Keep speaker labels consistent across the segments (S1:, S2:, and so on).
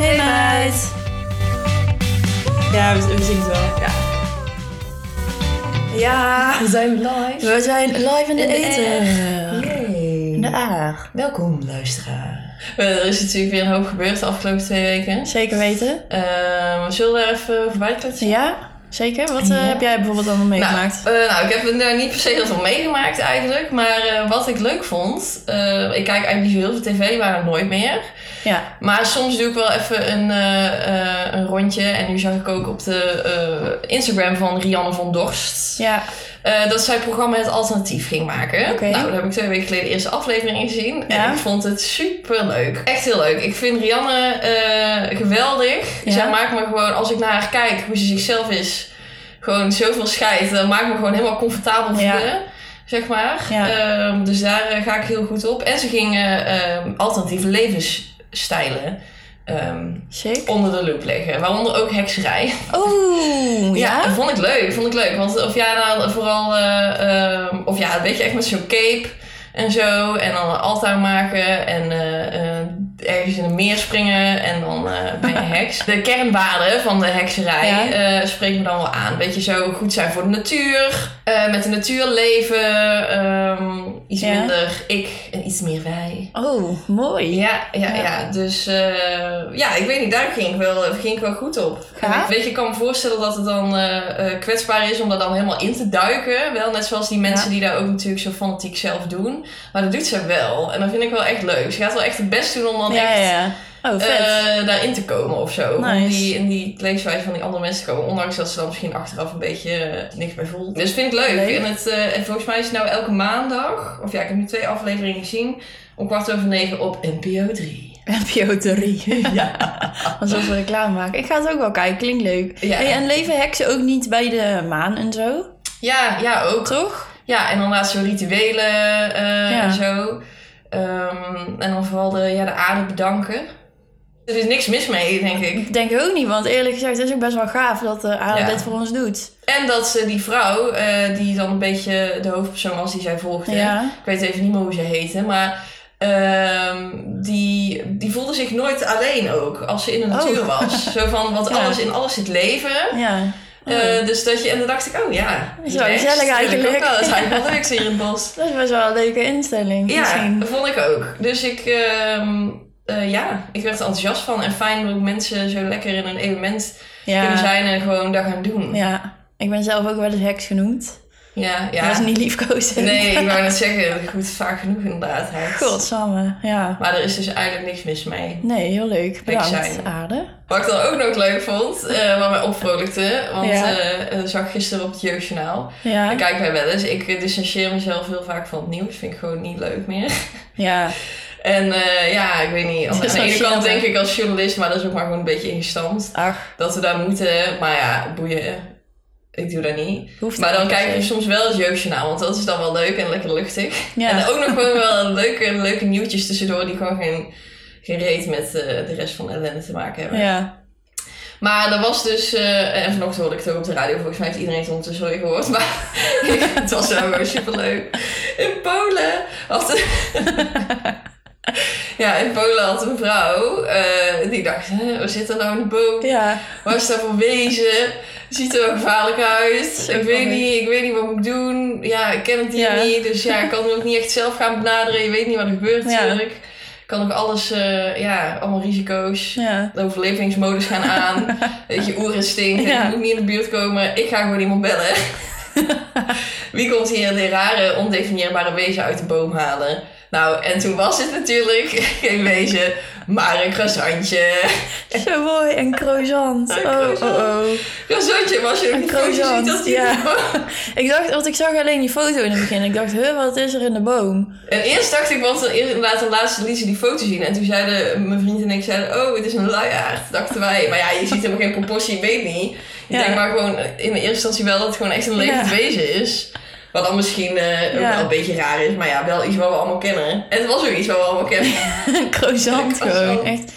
S1: Hey, meid. Ja, we, we zien het wel. Ja. Ja,
S2: We zijn live.
S1: we zijn live in de eten.
S2: Yay.
S1: aar.
S2: Welkom luisteraar.
S3: Wel, Er is natuurlijk weer een hoop gebeurd de afgelopen twee weken.
S1: Zeker weten.
S3: Ehm zullen we daar even over bijkletsen?
S1: Ja, zeker. Wat eh,
S2: Ja.
S1: heb jij bijvoorbeeld allemaal
S3: Nou,
S1: meegemaakt?
S3: eh, nou, ik heb er nou niet per se heel veel meegemaakt eigenlijk. Maar eh, wat ik leuk vond, eh, ik kijk eigenlijk niet zo heel veel tv, maar nooit meer.
S1: Ja.
S3: Maar soms doe ik wel even een, eh, eh, een rondje. En nu zag ik ook op de eh, Instagram van Rianne van Dorst.
S1: Ja.
S3: eh, dat zij het programma Het Alternatief ging maken.
S1: Oké.
S3: Nou, daar heb ik twee weken geleden de eerste aflevering in gezien.
S1: Ja.
S3: En ik vond het super leuk. Echt heel leuk. Ik vind Rianne eh, geweldig.
S1: Ja.
S3: Zij maakt me gewoon, als ik naar haar kijk, hoe ze zichzelf is, gewoon zoveel scheid. Dat maakt me gewoon helemaal comfortabel
S1: Ja.
S3: voelen. Zeg maar.
S1: Ja.
S3: Ehm, dus daar eh, ga ik heel goed op. En ze ging eh, ehm, alternatieve levensstijlen ehm,
S1: Sick.
S3: onder de loep leggen. Waaronder ook hekserij.
S1: Oeh,
S3: Ja,
S1: Oh, ja?
S3: dat vond ik leuk. Vond ik leuk. Want of ja, nou, vooral, eh, ehm, of ja, weet je, echt met zo'n cape en zo. En dan een altaar maken en eh, eh, ergens in een meer springen en dan eh, ben je heks. De kernwaarden van de hekserij
S1: Ja.
S3: eh, spreekt me dan wel aan. Weet je, zo goed zijn voor de natuur, eh, met de natuur leven, ehm, iets
S1: Ja.
S3: minder ik en iets meer wij.
S1: Oh, mooi.
S3: Ja, ja,
S1: Ja.
S3: ja. Dus eh, ja, ik weet niet, daar ging ik wel, ging ik wel goed op.
S1: Ja?
S3: Weet je, ik kan me voorstellen dat het dan eh, eh, kwetsbaar is om daar dan helemaal in te duiken. Wel net zoals die mensen die daar ook natuurlijk zo fanatiek zelf doen. Maar dat doet ze wel. En dat vind ik wel echt leuk. Ze gaat wel echt het best doen om dan
S1: ja,
S3: echt
S1: ja. Oh, vet.
S3: eh, daarin te komen of zo. Om
S1: Nice.
S3: die, in die leefwijze van die andere mensen te komen. Ondanks dat ze dan misschien achteraf een beetje eh, niks bij voelt. Dus vind ik leuk.
S1: Leuk.
S3: En, het, eh, en volgens mij is het nou elke maandag, of ja, ik heb nu twee afleveringen gezien, om kwart over negen op NPO 3.
S1: NPO 3. Alsof we reclame maken. Ik ga het ook wel kijken, klinkt leuk.
S3: Ja.
S1: Hey, en leven heksen ook niet bij de maan en zo?
S3: Ja, ja, ook.
S1: Toch?
S3: Ja, en dan laatst zo rituelen eh,
S1: Ja.
S3: en zo. Ehm, en dan vooral de, ja, de aarde bedanken. Er is niks mis mee, denk ik.
S1: Ik denk ook niet, want eerlijk gezegd het is ook best wel gaaf dat de aarde
S3: Ja.
S1: dit voor ons doet.
S3: En dat ze die vrouw, eh, die dan een beetje de hoofdpersoon was die zij volgde.
S1: Ja.
S3: Ik weet even niet meer hoe ze heette, maar ehm, die, die voelde zich nooit alleen ook als ze in de natuur
S1: Oh.
S3: was. Zo van, want
S1: Ja.
S3: alles in alles zit leven.
S1: Ja.
S3: Eh, dus dat je, en dan dacht ik, oh ja.
S1: Zo
S3: relaxed.
S1: gezellig
S3: Wil ik ook
S1: eigenlijk.
S3: wel. Dat is eigenlijk wel leuk hier in het bos.
S1: Dat is best wel een leuke instelling.
S3: Ja,
S1: Misschien.
S3: dat vond ik ook. Dus ik, ehm, eh, ja, ik werd er enthousiast van. En fijn dat mensen zo lekker in een element
S1: Ja.
S3: kunnen zijn en gewoon dat gaan doen. Ja,
S1: ja. Ik ben zelf ook wel eens heks genoemd.
S3: ja.
S1: Dat is niet liefkozen.
S3: Nee, ik wou net zeggen, goed, vaak genoeg inderdaad. hè.
S1: Godsamme. Ja.
S3: Maar er is dus eigenlijk niks mis mee.
S1: Nee, heel leuk. Bedankt,
S3: zijn.
S1: aarde.
S3: Wat ik dan ook nog leuk vond, eh, wat mij opvrolijkte, want
S1: Ja.
S3: eh, eh, zag gisteren op het Jeugdjournaal.
S1: Ja.
S3: Ik kijk mij wel eens, ik eh, distancieer mezelf heel vaak van het nieuws, vind ik gewoon niet leuk meer.
S1: Ja.
S3: En eh, ja, ik weet niet, aan
S1: Het is
S3: de
S1: wel
S3: ene kant
S1: gênant, hè?
S3: denk ik als journalist, maar dat is ook maar gewoon een beetje ingestampt,
S1: Ach,
S3: dat we daar moeten, maar ja, boeien, ik doe dat niet.
S1: hoeft
S3: Maar
S1: ook
S3: dan
S1: niet per
S3: kijk je
S1: se.
S3: soms wel het Jeugdjournaal, want dat is dan wel leuk en lekker luchtig. En
S1: Ja.
S3: ook nog gewoon wel leuke, leuke nieuwtjes tussendoor die gewoon geen, geen reet met eh, de rest van de ellende te maken hebben.
S1: Ja.
S3: Maar er was dus, eh, en vanochtend hoorde ik het ook op de radio, volgens mij heeft iedereen het ondertussen wel weer gehoord, maar het was wel gewoon superleuk. In Polen had ja, in Polen had een vrouw, eh, die dacht, hè, we zitten nou in de boot,
S1: Ja.
S3: waar is dat voor wezen? Ziet er wel gevaarlijk uit.
S1: Zo
S3: Ik weet,
S1: van,
S3: niet, ik weet niet wat ik moet doen. Ja, ik ken het hier
S1: Ja.
S3: niet. Dus ja, ik kan het ook niet echt zelf gaan benaderen. Je weet niet wat er gebeurt
S1: Ja.
S3: natuurlijk. Ik kan ook alles, eh, ja, allemaal risico's.
S1: Ja.
S3: De overlevingsmodus gaan aan. weet je, oerinstinct.
S1: Ja.
S3: Ik moet niet in de buurt komen. Ik ga gewoon iemand bellen. Wie komt hier de rare, ondefinieerbare wezen uit de boom halen? Nou, en toen was het natuurlijk geen wezen, maar een croissantje.
S1: Zo mooi. En croissant.
S3: Een
S1: Oh, oh,
S3: croissant.
S1: oh.
S3: Croissantje was je
S1: Een
S3: ook niet foto's ziet
S1: croissant,
S3: dat die
S1: ja. Ik dacht, want ik zag alleen die foto in het begin. Ik dacht, huh, wat is er in de boom?
S3: En eerst dacht ik, want eerst- inderdaad, de laatste liet ze die foto zien. En toen zeiden mijn vriend en ik, zeiden, oh, het is een luiaard, dachten wij. Maar ja, je ziet helemaal geen proportie, ik weet niet. Ik
S1: Ja.
S3: denk maar gewoon in de eerste instantie wel dat het gewoon echt een levend
S1: Ja.
S3: wezen is. Wat dan misschien eh, ook
S1: Ja.
S3: wel een beetje raar is, maar ja, wel iets wat we allemaal kennen. En het was ook iets wat we allemaal kennen.
S1: croissant
S3: Ja, croissant.
S1: gewoon. Echt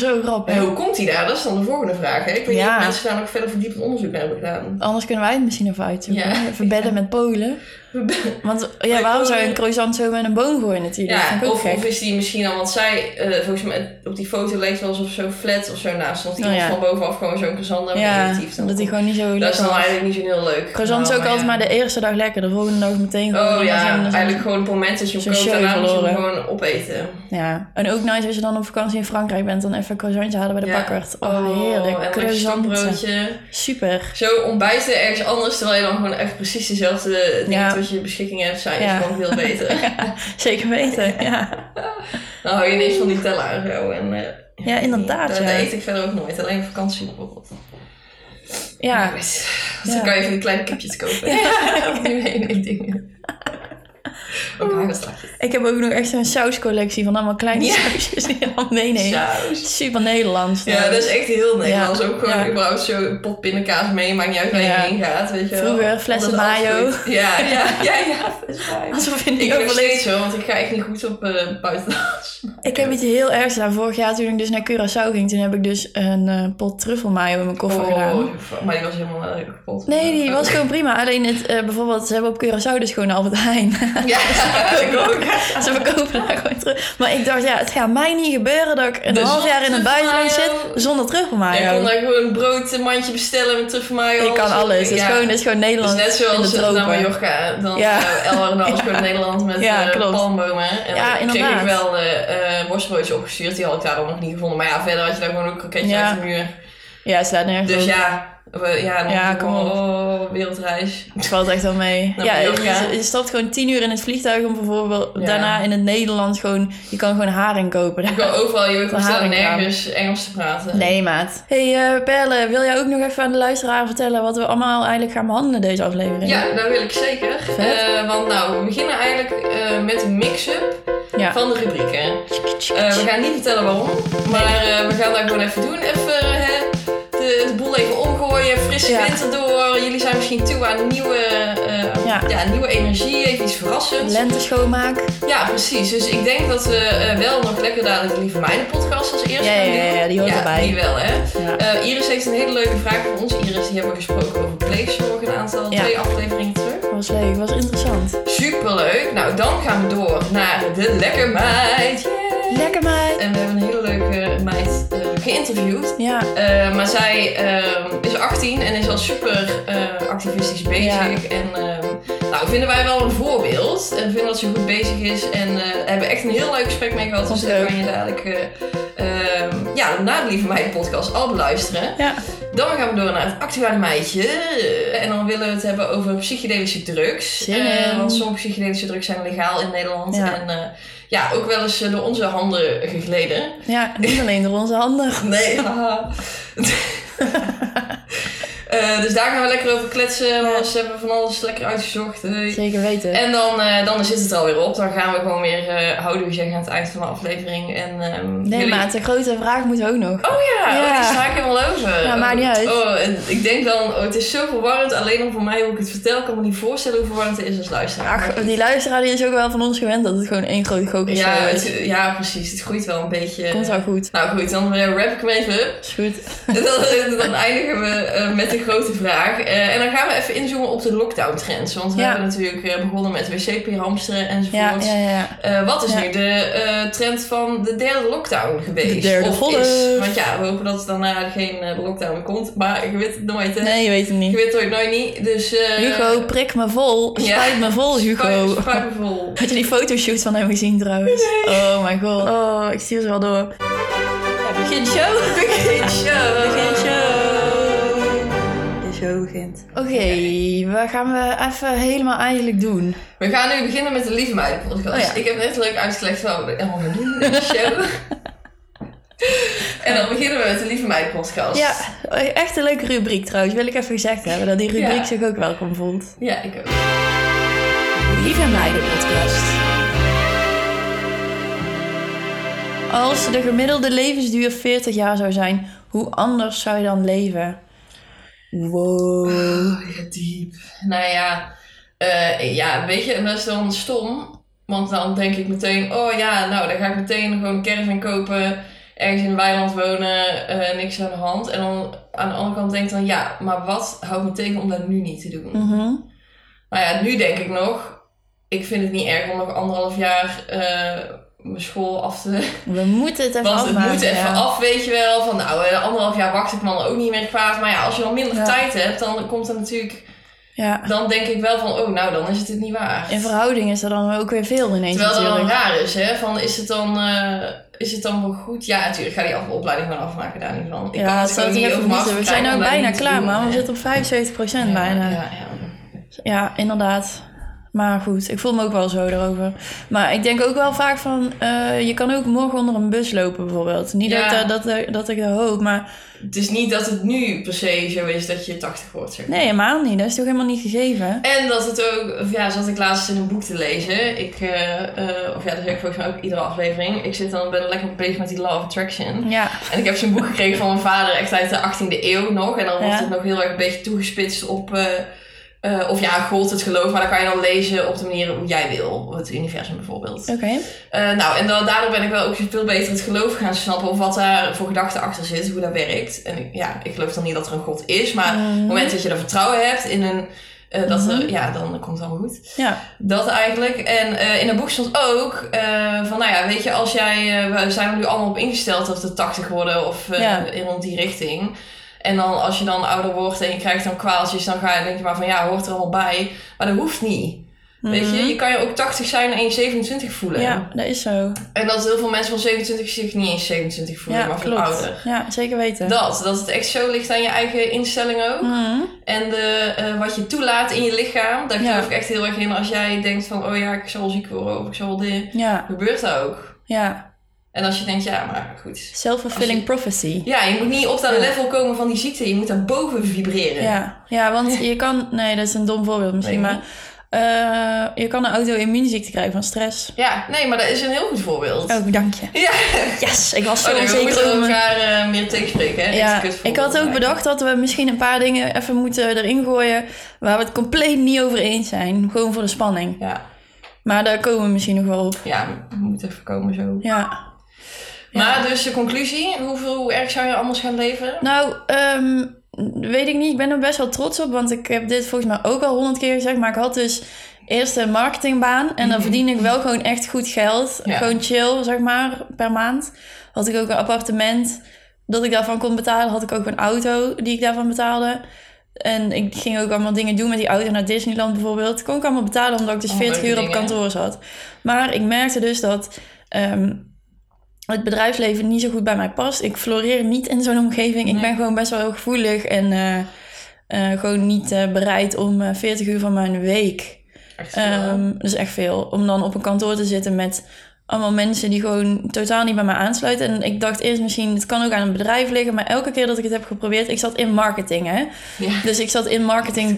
S1: zo grappig.
S3: En hoe komt hij daar? Dat is dan de volgende vraag. Hè? Ik weet niet
S1: Ja.
S3: of mensen daar nog verder verdiepend onderzoek naar hebben gedaan.
S1: Anders kunnen wij het misschien even uitzoeken.
S3: Ja.
S1: Even bellen met Polen. Want ja,
S3: ik
S1: waarom
S3: wil-
S1: zou je een croissant zo met een boom gooien natuurlijk? Dat vind
S3: Ja,
S1: ik ook
S3: of,
S1: gek.
S3: of is die misschien al, want zij, eh, volgens mij, op die foto leek het wel alsof zo'n flat of zo naast stond. Die
S1: Nou ja.
S3: van bovenaf gewoon zo'n croissant naar beneden
S1: ja,
S3: hieft.
S1: omdat die gewoon niet zo
S3: Dat is
S1: lekker
S3: dan
S1: was.
S3: eigenlijk niet zo heel leuk.
S1: Croissant is
S3: Nou,
S1: ook altijd
S3: ja.
S1: maar de eerste dag lekker. De volgende dag meteen gewoon.
S3: Oh
S1: en dan
S3: ja,
S1: zijn we er zo-
S3: eigenlijk gewoon op het moment dat je hem
S1: Zo'n
S3: koopt,
S1: show
S3: daarna moet je hem
S1: verloren.
S3: gewoon opeten.
S1: Ja, en ook nice als je dan op vakantie in Frankrijk bent, dan even een croissantje halen bij de
S3: Ja.
S1: bakker. Oh, heerlijk.
S3: en een lekker
S1: Croissant.
S3: stokbroodje.
S1: Super.
S3: Zo ontbijten ergens anders, terwijl je dan gewoon echt precies dezelfde dingen
S1: Ja.
S3: tot je beschikking hebt, zijn
S1: Ja.
S3: is gewoon veel beter.
S1: Zeker weten. Ja,
S3: Dan hou je ineens van die teller en zo. En, eh,
S1: ja inderdaad.
S3: dat, dat
S1: Ja.
S3: eet ik verder ook nooit, alleen op vakantie bijvoorbeeld.
S1: ja.
S3: Goed. Dus dan
S1: Ja.
S3: kan je van die kleine kipjes kopen. Ja, nee, nee, dingen. Ook hagelslagjes.
S1: Ik heb ook nog echt zo'n sauscollectie van allemaal kleine
S3: Ja.
S1: sausjes die je al meeneemt.
S3: Saus.
S1: Super Nederlands. dus.
S3: Ja, dat is echt heel Nederlands. Ook gewoon
S1: Ja.
S3: überhaupt zo'n pot pindakaas mee, maakt niet uit waar je
S1: Ja.
S3: heen gaat, weet je wel.
S1: Vroeger flessen
S3: Dat is altijd
S1: mayo.
S3: goed. Ja, ja, ja, ja, flessen mayo.
S1: Alsof je
S3: Ik
S1: niet
S3: heb
S1: overleeft.
S3: steeds zo, want ik ga echt niet goed op eh buitenlands.
S1: Ik heb iets heel ergs gedaan. Vorig jaar toen ik dus naar Curaçao ging, toen heb ik dus een eh, pot truffelmayo in mijn koffer
S3: Oh.
S1: gedaan.
S3: maar die was helemaal eh, kapot.
S1: Nee, die
S3: Oh.
S1: was gewoon prima. Alleen het, eh, bijvoorbeeld, ze hebben op Curaçao dus gewoon Albert Heijn.
S3: Ja, ik ook.
S1: ze verkopen daar gewoon terug. Maar ik dacht, ja, het gaat mij niet gebeuren dat ik een half jaar in het buitenland zit
S3: truffelmayo.
S1: zonder
S3: Ik
S1: truffelmayo.
S3: kon daar gewoon een broodmandje bestellen met truffelmayo.
S1: Ik kan alles. Het is
S3: Ja.
S1: gewoon, het is gewoon
S3: Dus
S1: Nederland
S3: net zoals
S1: in de
S3: eh, naar
S1: tropen.
S3: Mallorca, dan
S1: Ja.
S3: ja. El Arnal is gewoon Nederland met
S1: Ja,
S3: eh,
S1: klopt.
S3: palmbomen. En
S1: Ja,
S3: ik kreeg
S1: inderdaad.
S3: ik wel eh eh worstbroodjes opgestuurd, die had ik daar ook nog niet gevonden. Maar ja, verder had je daar gewoon een kroketje
S1: Ja.
S3: uit de muur.
S1: Ja, het slaat nergens
S3: Dus
S1: op.
S3: ja, we, ja, dan
S1: Ja, kom op.
S3: oh, wereldreis.
S1: Het valt echt wel mee.
S3: Naar
S1: ja,
S3: Mallorca.
S1: je, je stapt gewoon tien uur in het vliegtuig om bijvoorbeeld
S3: Ja.
S1: daarna in het Nederland gewoon... Je kan gewoon haring kopen.
S3: Ik wil overal je
S1: Van
S3: bestellen,
S1: Haringkraam.
S3: nergens Engels te praten.
S1: Nee, maat. hey, eh Perle, wil jij ook nog even aan de luisteraar vertellen wat we allemaal eigenlijk gaan behandelen deze aflevering?
S3: Ja, dat wil ik zeker.
S1: Vet.
S3: Eh, want nou, we beginnen eigenlijk eh, met een mix-up
S1: Ja.
S3: van de rubrieken. Eh, we gaan niet vertellen waarom, maar eh, we gaan dat gewoon even doen. Even eh, de, de boel even omgooien, frisse
S1: Ja.
S3: winter door. Jullie zijn misschien toe aan nieuwe, eh,
S1: Ja.
S3: ja. nieuwe energie, even iets verrassends.
S1: Lente schoonmaak.
S3: ja, precies. Dus ik denk dat we eh, wel nog lekker dadelijk de Lieve Meiden podcast als eerste
S1: Ja,
S3: gaan
S1: ja, ja,
S3: doen.
S1: ja, die hoort erbij.
S3: die wel, hè.
S1: Ja.
S3: Eh, Iris heeft een hele leuke vraag voor ons. Iris, die hebben we gesproken over pleegzorg een aantal,
S1: Ja.
S3: twee afleveringen terug.
S1: Was leuk, was interessant.
S3: Superleuk. Nou, dan gaan we door naar de Lekker Meid. Yay!
S1: Lekker meid.
S3: En we hebben een hele leuke meid eh, geïnterviewd.
S1: Ja,
S3: Eh, maar zij ehm, is 18 en is al super eh, activistisch bezig. En ehm, nou, vinden wij wel een voorbeeld. En vinden dat ze goed bezig is. En eh, hebben echt een heel leuk gesprek mee gehad.
S1: Vond
S3: Dus
S1: ik
S3: daar
S1: leuk.
S3: kan je dadelijk eh, ehm, ja, na de Lieve Meid podcast al beluisteren.
S1: ja.
S3: Dan gaan we door naar het actuele meidje. Eh, En dan willen we het hebben over psychedelische drugs.
S1: Zin in.
S3: Eh, want sommige psychedelische drugs zijn legaal in Nederland.
S1: Ja.
S3: En eh, ja, ook wel eens eh, door onze handen gegleden.
S1: ja niet alleen door onze handen.
S3: Nee, haha. Eh, dus daar gaan we lekker over kletsen.
S1: Ja.
S3: want Ze hebben van alles lekker uitgezocht. Hey.
S1: Zeker weten.
S3: En dan, eh, dan zit het alweer op. Dan gaan we gewoon weer eh houden we zeggen aan het eind van de aflevering. En, ehm,
S1: nee,
S3: jullie-
S1: maat, de grote vraag moet ook nog.
S3: Oh ja,
S1: Ja.
S3: Oh, die sla ik helemaal over.
S1: Ja, maakt niet uit.
S3: Oh, en ik denk dan, oh, het is zo verwarrend. Alleen al voor mij hoe ik het vertel, ik kan me niet voorstellen hoe verwarrend het is als luisteraar.
S1: Ach, oh, die luisteraar die is ook wel van ons gewend dat het gewoon één grote gokkershow
S3: ja,
S1: is. eh,
S3: het, ja, precies. Het groeit wel een beetje.
S1: Komt wel goed.
S3: Nou goed, dan eh, wrap ik hem even up.
S1: Is goed. eh,
S3: En dan, dan eindigen we eh, met de grote vraag. Eh, en dan gaan we even inzoomen op de lockdown-trends. Want we
S1: Ja.
S3: hebben natuurlijk eh, begonnen met wc-papier hamsteren
S1: Ja,
S3: enzovoort.
S1: ja, ja.
S3: Eh, wat is
S1: Ja.
S3: nu de eh, trend van de derde lockdown geweest?
S1: De derde
S3: of
S1: golf.
S3: is? Want ja, we hopen dat er daarna geen eh, lockdown komt. Maar ik weet het nooit, hè?
S1: Nee, je weet het
S3: Ik
S1: niet.
S3: weet het ooit nooit niet. Dus, eh,
S1: Hugo, prik me vol.
S3: Ja.
S1: Spuit me vol, Hugo.
S3: spuit- spuit me vol.
S1: Had je die fotoshoot van hem gezien trouwens? Oh my god. Oh, ik stuur ze wel door. Ja, begin show.
S3: Begin show.
S1: Begin show.
S2: De show begint.
S1: Oké, wat gaan we even helemaal eigenlijk doen?
S3: We gaan nu beginnen met de Lieve Meiden podcast.
S1: Oh ja.
S3: Ik heb net leuk uitgelegd wat we allemaal gaan doen in de show. en dan beginnen we met de Lieve Meiden podcast.
S1: Ja, e- echt een leuke rubriek trouwens. Wil ik even gezegd hebben dat die rubriek
S3: Ja.
S1: zich ook welkom voelt.
S3: Ja, ik ook.
S1: Lieve meiden podcast. Als de gemiddelde levensduur 40 jaar zou zijn, hoe anders zou je dan leven? Wow.
S3: Oh, ja, diep. Nou ja, eh, ja, weet je, en dat is dan stom. Want dan denk ik meteen, oh ja, nou, dan ga ik meteen gewoon een caravan kopen. Ergens in een weiland wonen, eh, niks aan de hand. En dan aan de andere kant denk ik dan, ja, maar wat houdt me tegen om dat nu niet te doen?
S1: Mhm.
S3: Maar Nou ja, nu denk ik nog, ik vind het niet erg om nog anderhalf jaar eh, mijn school af te
S1: We moeten het even
S3: want het
S1: afmaken.
S3: moet even
S1: ja.
S3: af, weet je wel. Van nou, eh, anderhalf jaar wacht ik me dan ook niet meer kwaad. Maar ja, als je dan minder
S1: Ja.
S3: tijd hebt, dan komt er natuurlijk...
S1: Ja.
S3: Dan denk ik wel van, oh nou, dan is het het niet waard.
S1: In verhouding is dat dan ook weer veel ineens
S3: Terwijl dat dan
S1: natuurlijk.
S3: raar is, hè. Van, is het dan, eh, is het dan wel goed? Ja, natuurlijk, ga die af- opleiding maar afmaken daar niet van. Ik kan
S1: ja, dat
S3: het gewoon
S1: zou ik
S3: niet
S1: even
S3: over me
S1: moeten. We
S3: afkrijgen
S1: zijn ook
S3: om daar
S1: bijna
S3: niet te
S1: klaar,
S3: doen,
S1: man. We
S3: hè.
S1: zitten op 75%
S3: Ja,
S1: bijna.
S3: Ja, ja.
S1: Ja, inderdaad. Maar goed, ik voel me ook wel zo erover. Maar ik denk ook wel vaak van... eh, je kan ook morgen onder een bus lopen bijvoorbeeld. Niet dat,
S3: Ja.
S1: ik dat, dat, dat ik dat hoop, maar...
S3: Het is niet dat het nu per se zo is dat je 80 wordt, zeg maar.
S1: Nee, helemaal niet. Dat is toch helemaal niet gegeven?
S3: En dat het ook, of ja, zat ik laatst in een boek te lezen. Ik, eh, eh, of ja, dat zeg ik volgens mij ook iedere aflevering. Ik zit dan, ben lekker bezig met die Law of Attraction.
S1: Ja,
S3: En ik heb zo'n boek gekregen van mijn vader, echt uit de 18e eeuw nog. En dan wordt
S1: Ja.
S3: het nog heel erg een beetje toegespitst op, eh, eh, of ja, gold het geloof. Maar dan kan je dan lezen op de manier hoe jij wil. Het universum bijvoorbeeld.
S1: oké.
S3: Eh, nou, en da- daardoor ben ik wel ook veel beter het geloof gaan snappen. Of wat daar voor gedachten achter zit, hoe dat werkt. En ik- ja, ik geloof dan niet dat er een god is. Maar op het moment dat je er vertrouwen hebt in een... eh, dat
S1: Mhm.
S3: er, ja, dan komt het allemaal goed.
S1: Ja,
S3: Dat eigenlijk. En eh, in het boek stond ook eh, van, nou ja, weet je, als jij, eh, we zijn er nu allemaal op ingesteld dat we 80 worden of eh,
S1: Ja.
S3: in rond die richting. En dan als je dan ouder wordt en je krijgt dan kwaaltjes, dan ga je denk je maar van, ja, hoort er allemaal bij. Maar dat hoeft niet. Weet je, je kan je ook 80 zijn en je 27 voelen.
S1: Mhm. ja, dat is zo.
S3: En dat heel veel mensen van 27 zich niet eens 27 voelen,
S1: Ja,
S3: maar veel
S1: klopt.
S3: ouder.
S1: Ja, zeker weten.
S3: Dat, dat het echt zo ligt aan je eigen instelling ook.
S1: Mhm.
S3: En de, eh, wat je toelaat in je lichaam, daar
S1: Ja.
S3: geloof ik echt heel erg in. Als jij denkt van, oh ja, ik zal ziek worden of ik zal dit,
S1: Ja,
S3: gebeurt dat ook.
S1: ja.
S3: En als je denkt, ja, maar goed.
S1: Self-fulfilling
S3: Als
S1: prophecy.
S3: Ja, je moet niet op dat
S1: Ja.
S3: level komen van die ziekte, je moet daar boven vibreren.
S1: Ja, ja want je kan... Nee, dat is een dom voorbeeld misschien,
S3: Nee.
S1: maar... eh, je kan een auto-immuunziekte krijgen van stress.
S3: Ja, nee, maar dat is een heel goed voorbeeld.
S1: Oh, dank je.
S3: Ja,
S1: Yes, ik was zo
S3: oh, nee, we
S1: onzeker
S3: moeten
S1: over mijn-
S3: elkaar eh, meer tegenspreken. Hè?
S1: Ja,
S3: Echt een kutvoorbeeld
S1: ik had ook
S3: eigenlijk.
S1: bedacht dat we misschien een paar dingen even moeten erin gooien waar we het compleet niet over eens zijn. Gewoon voor de spanning.
S3: Ja,
S1: Maar daar komen we misschien nog wel op.
S3: ja, we moeten even komen zo.
S1: Ja.
S3: Maar dus de conclusie, hoeveel, hoe erg zou je anders gaan leven?
S1: Nou, ehm, weet ik niet. Ik ben er best wel trots op, want ik heb dit volgens mij ook al honderd keer gezegd. Maar ik had dus eerst een marketingbaan en dan verdien ik wel gewoon echt goed geld.
S3: Mhm. Ja.
S1: Gewoon chill, zeg maar, per maand. Had ik ook een appartement dat ik daarvan kon betalen. Had ik ook een auto die ik daarvan betaalde. En ik ging ook allemaal dingen doen met die auto naar Disneyland bijvoorbeeld. Kon ik allemaal betalen omdat ik dus
S3: Oh,
S1: 40 uur
S3: leuke
S1: op
S3: dingen.
S1: kantoor zat. Maar ik merkte dus dat ehm, het bedrijfsleven niet zo goed bij mij past. Ik floreer niet in zo'n omgeving. Ik
S3: Nee.
S1: ben gewoon best wel heel gevoelig en eh, eh, gewoon niet eh, bereid om eh, 40 uur van mijn week.
S3: Echt veel.
S1: Ehm, dat is echt veel. Om dan op een kantoor te zitten met allemaal mensen die gewoon totaal niet bij mij aansluiten. En ik dacht eerst misschien, het kan ook aan een bedrijf liggen. Maar elke keer dat ik het heb geprobeerd, ik zat in marketing hè.
S3: ja.
S1: Dus ik zat in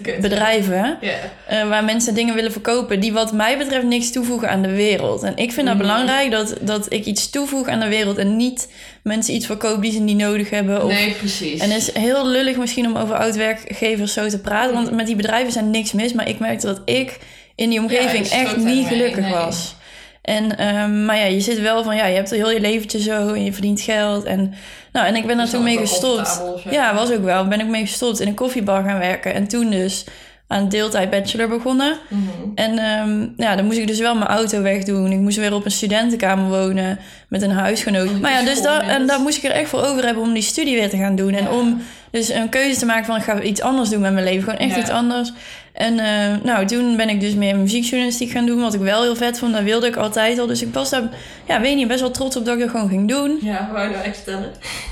S1: marketingbedrijven.
S3: ja.
S1: Eh, waar mensen dingen willen verkopen die wat mij betreft niks toevoegen aan de wereld. En ik vind dat
S3: Mhm.
S1: belangrijk dat, dat ik iets toevoeg aan de wereld en niet mensen iets verkoop die ze niet nodig hebben. Of...
S3: Nee, precies.
S1: En het is heel lullig misschien om over oud-werkgevers zo te praten,
S3: Mm.
S1: want met die bedrijven zijn niks mis, maar ik merkte dat ik in die omgeving
S3: je
S1: echt
S3: schoot
S1: niet
S3: daarmee,
S1: gelukkig
S3: nee.
S1: was. En, ehm, maar ja, je zit wel van, ja, je hebt heel je leventje zo en je verdient geld. En, nou, en ik ben daar
S3: Dat is
S1: toen mee
S3: ook wel
S1: gestopt.
S3: comfortabel, zeg
S1: Ja,
S3: maar.
S1: was ook wel. Ben ik mee gestopt in een koffiebar gaan werken. En toen dus aan deeltijd bachelor begonnen.
S3: Mhm.
S1: En ehm, ja, dan moest ik dus wel mijn auto wegdoen. Ik moest weer op een studentenkamer wonen met een
S3: Oh,
S1: huisgenoot. Maar ja, dus daar, en daar moest ik er echt voor over hebben om die studie weer te gaan doen. En om dus een keuze te maken van ik ga iets anders doen met mijn leven. Gewoon echt
S3: Ja.
S1: iets anders. En eh, nou, toen ben ik dus meer muziekjournalistiek gaan doen. Wat ik wel heel vet vond, dat wilde ik altijd al. Dus ik was daar, ja, weet niet, best wel trots op dat ik dat gewoon ging doen.
S3: Ja, wou je nou echt vertellen?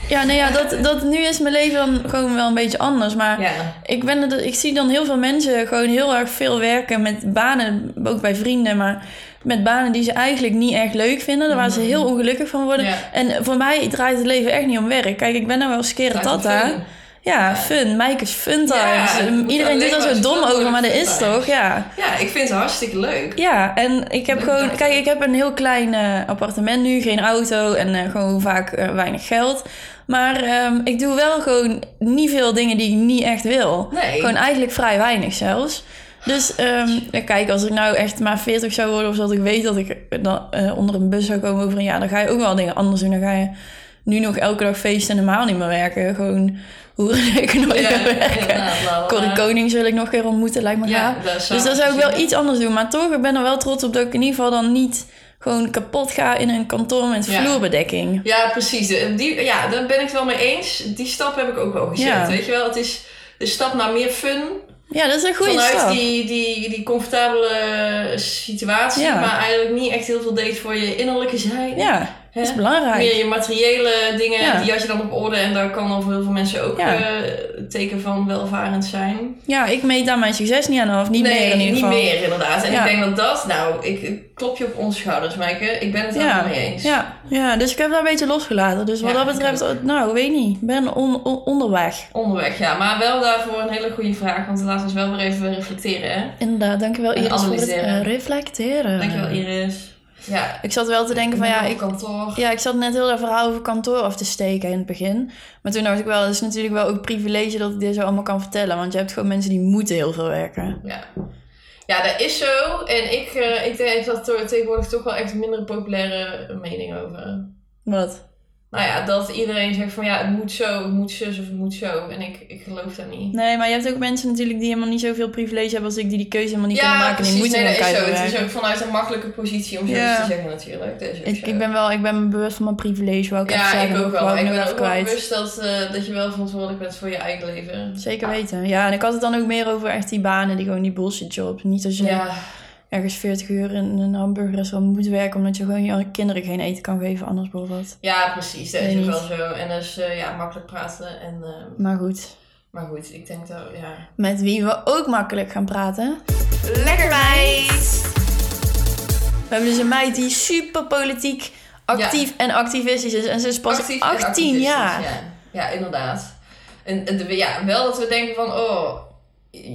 S1: Ja, nee, ja, dat, dat, nu is mijn leven dan gewoon wel een beetje anders. Maar
S3: Ja.
S1: ik, ben er, ik zie dan heel veel mensen gewoon heel erg veel werken met banen, ook bij vrienden, maar met banen die ze eigenlijk niet erg leuk vinden, waar ze heel ongelukkig van worden.
S3: Mhm. Ja.
S1: En voor mij draait het leven echt niet om werk. Kijk, ik ben nou wel skeratata.
S3: Fijn.
S1: Ja, fun. Mike is fun thuis.
S3: het moet
S1: Iedereen doet
S3: alleen
S1: daar
S3: maar
S1: zo dom
S3: fun
S1: over, maar dat
S3: worden,
S1: is
S3: fun
S1: toch, ja.
S3: Ja, ik vind het hartstikke leuk.
S1: Ja, en ik heb
S3: Leuk
S1: gewoon...
S3: dat.
S1: Kijk, ik heb een heel klein eh, appartement nu. Geen auto en eh, gewoon vaak eh, weinig geld. Maar ehm, ik doe wel gewoon niet veel dingen die ik niet echt wil.
S3: Nee.
S1: Gewoon eigenlijk vrij weinig zelfs. Dus ehm, ja, kijk, als ik nou echt maar 40 zou worden... of dat ik weet dat ik eh, dan, eh, onder een bus zou komen over een jaar... dan ga je ook wel dingen anders doen. Dan ga je nu nog elke dag feesten en normaal niet meer werken. Gewoon hoe ik nooit
S3: Ja,
S1: meer werken.
S3: inderdaad, wel,
S1: Corrie
S3: eh,
S1: Konings wil ik nog een keer ontmoeten, lijkt me gaaf.
S3: dat zou
S1: Dus dan zou ik wel iets anders doen. Maar toch, ik ben er wel trots op dat ik in ieder geval dan niet gewoon kapot ga in een kantoor met
S3: Ja.
S1: vloerbedekking.
S3: Ja, precies. Eh, Die, ja, daar ben ik het wel mee eens. Die stap heb ik ook wel gezet.
S1: Ja.
S3: Weet je wel, het is de stap naar meer fun.
S1: Ja, dat is een goede
S3: vanuit
S1: stap.
S3: Die, die, die comfortabele situatie,
S1: Ja.
S3: maar eigenlijk niet echt heel veel deed voor je innerlijke zijn.
S1: Ja,
S3: Hè?
S1: dat is belangrijk.
S3: Meer je materiële dingen,
S1: Ja.
S3: die had je dan op orde. En daar kan dan voor heel veel mensen ook
S1: Ja.
S3: eh, een teken van welvarend zijn.
S1: Ja, ik meet daar mijn succes niet aan af. Niet
S3: nee,
S1: meer in ieder
S3: niet
S1: geval.
S3: meer inderdaad. En
S1: Ja.
S3: ik denk dat dat, nou, ik, ik klop je op onze schouders, Maaike. Ik ben het
S1: Ja.
S3: allemaal mee eens.
S1: Ja, ja, dus ik heb daar een beetje losgelaten. Dus wat
S3: Ja,
S1: dat betreft, eh, nou, weet niet. Ik ben on- on- onderweg.
S3: Onderweg, ja. Maar wel daarvoor een hele goede vraag, want laten we ons wel weer even reflecteren. Hè?
S1: Inderdaad, dankjewel
S3: En
S1: Iris voor het
S3: analyseren.
S1: eh, reflecteren.
S3: Dankjewel, Iris. Ja,
S1: Ik zat wel te denken van ja,
S3: op
S1: ik,
S3: kantoor.
S1: ja, ik zat net heel dat verhaal over kantoor af te steken in het begin. Maar toen dacht ik wel, het is natuurlijk wel ook privilege dat ik dit zo allemaal kan vertellen. Want je hebt gewoon mensen die moeten heel veel werken.
S3: Ja. ja, dat is zo. En ik, eh, ik denk dat er tegenwoordig toch wel echt een minder populaire mening over.
S1: Wat?
S3: Nou ja, dat iedereen zegt van ja, het moet zo, het moet zus of het moet zo. En ik, ik geloof daar niet.
S1: Nee, maar je hebt ook mensen natuurlijk die helemaal niet zoveel privilege hebben als ik. Die die keuze helemaal niet kunnen maken. en Die moeten
S3: nee,
S1: hun
S3: dat is
S1: keihard
S3: zo. Het
S1: werken.
S3: is ook vanuit een makkelijke positie om zoiets
S1: Ja.
S3: te zeggen natuurlijk. Dat is ook
S1: Ik,
S3: zo.
S1: ik ben wel, ik ben me bewust van mijn privilege, wou ik even
S3: ja,
S1: zeggen.
S3: ik ook wel.
S1: Wou
S3: Ik
S1: nog
S3: ben
S1: even
S3: ook wel bewust dat, eh, dat je wel verantwoordelijk bent voor je eigen leven.
S1: Zeker weten. Ja, en ik had het dan ook meer over echt die banen, die gewoon die bullshit jobs. Niet als je
S3: Ja,
S1: ergens 40 uur in een hamburgerrestaurant moet werken, omdat je gewoon je kinderen geen eten kan geven, anders bijvoorbeeld.
S3: ja precies. Dat
S1: Weet
S3: is ook
S1: niet.
S3: wel zo. En dat is eh, ja, makkelijk praten. En, eh,
S1: Maar goed,
S3: maar goed, ik denk dat... Ja.
S1: met wie we ook makkelijk gaan praten.
S3: Lekker meid!
S1: We hebben dus een meid die super politiek actief en activistisch is. En ze is pas 18 jaar.
S3: dus Ja, ja inderdaad. En, en de- ja, wel dat we denken van... Oh,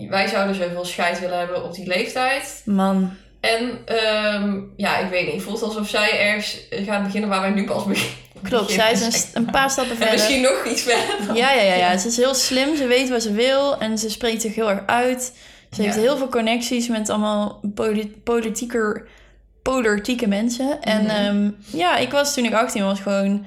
S3: wij zouden zoveel scheid willen hebben op die leeftijd.
S1: Man,
S3: En ehm, ja, ik weet niet. Voelt alsof zij ergens gaat beginnen waar wij nu pas beginnen.
S1: klopt. Zij is een,
S3: Zeg
S1: st- een paar stappen
S3: dus En
S1: verder.
S3: misschien nog iets verder.
S1: Ja, ja, ja, ja. Ze is heel slim. Ze weet wat ze wil. En ze spreekt zich heel erg uit. Ze heeft
S3: Ja.
S1: heel veel connecties met allemaal poli- politieker, politieke mensen. En
S3: Mhm.
S1: ehm, ja, ik was toen ik 18 was gewoon...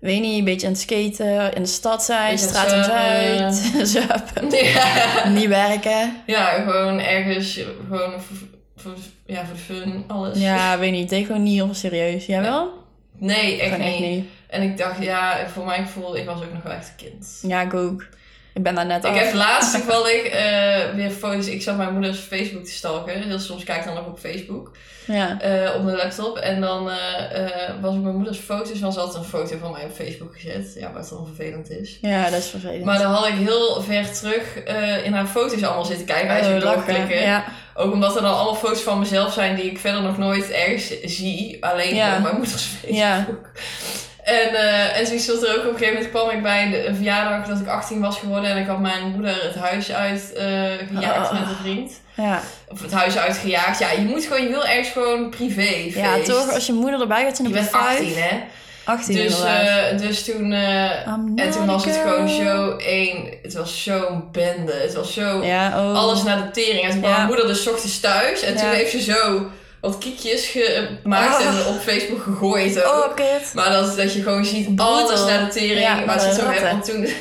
S1: Weet niet, een beetje aan het skaten, in de stad zijn,
S3: Beetje
S1: straat om
S3: zuipen.
S1: zuid, zuipen,
S3: Ja.
S1: niet werken.
S3: ja, gewoon ergens. Gewoon voor, voor- ja, voor de fun, alles.
S1: Ja, weet niet, deed gewoon niet heel serieus. Jij wel?
S3: Nee, echt,
S1: gewoon
S3: niet.
S1: echt niet.
S3: En ik dacht, ja, voor mijn gevoel, ik was ook nog wel echt een kind.
S1: Ja, ik ook. Ik ben daar net
S3: Ik
S1: af.
S3: heb laatst toevallig eh weer foto's. Ik zat mijn moeders Facebook te stalken. Heel soms kijk ik dan ook op Facebook.
S1: Ja.
S3: eh, op mijn laptop. En dan eh, eh, was op mijn moeders foto's. Dan had een foto van mij op Facebook gezet. Ja, wat dan vervelend is.
S1: ja, dat is vervelend.
S3: Maar dan had ik heel ver terug eh, in haar foto's allemaal zitten kijken. Als je
S1: Oh, lachen.
S3: doorklikken.
S1: Ja.
S3: Ook omdat er dan allemaal foto's van mezelf zijn die ik verder nog nooit ergens zie. Alleen
S1: Ja.
S3: op mijn moeders Facebook.
S1: Ja.
S3: En, eh en zoiets was er ook op een gegeven moment kwam ik bij de- een verjaardag dat ik 18 was geworden. En ik had mijn moeder het huis uit eh, gejaagd
S1: Oh.
S3: met een vriend.
S1: ja.
S3: Of het huis uitgejaagd. Ja, je moet gewoon, je wil ergens gewoon privé feest.
S1: Ja, toch? Als je moeder erbij gaat, zijn
S3: Je
S1: er
S3: bent 18 hè?
S1: 18
S3: Dus,
S1: inderdaad.
S3: eh, dus toen... eh,
S1: I'm
S3: en
S1: not
S3: toen
S1: a
S3: was het gewoon
S1: girl.
S3: zo één... Het was zo'n bende. Het was zo...
S1: Ja, oh.
S3: eh, Alles naar de tering. En toen kwam
S1: Ja.
S3: mijn moeder dus 's ochtends thuis. En toen
S1: Ja.
S3: heeft ze zo wat kiekjes gemaakt
S1: Ah.
S3: en op Facebook gegooid ook.
S1: Oh, kut.
S3: Maar dat, dat je gewoon ziet,
S1: Broedel.
S3: alles naar de tering.
S1: Ja,
S3: maar ze zo
S1: ratten.
S3: hebben, want toen...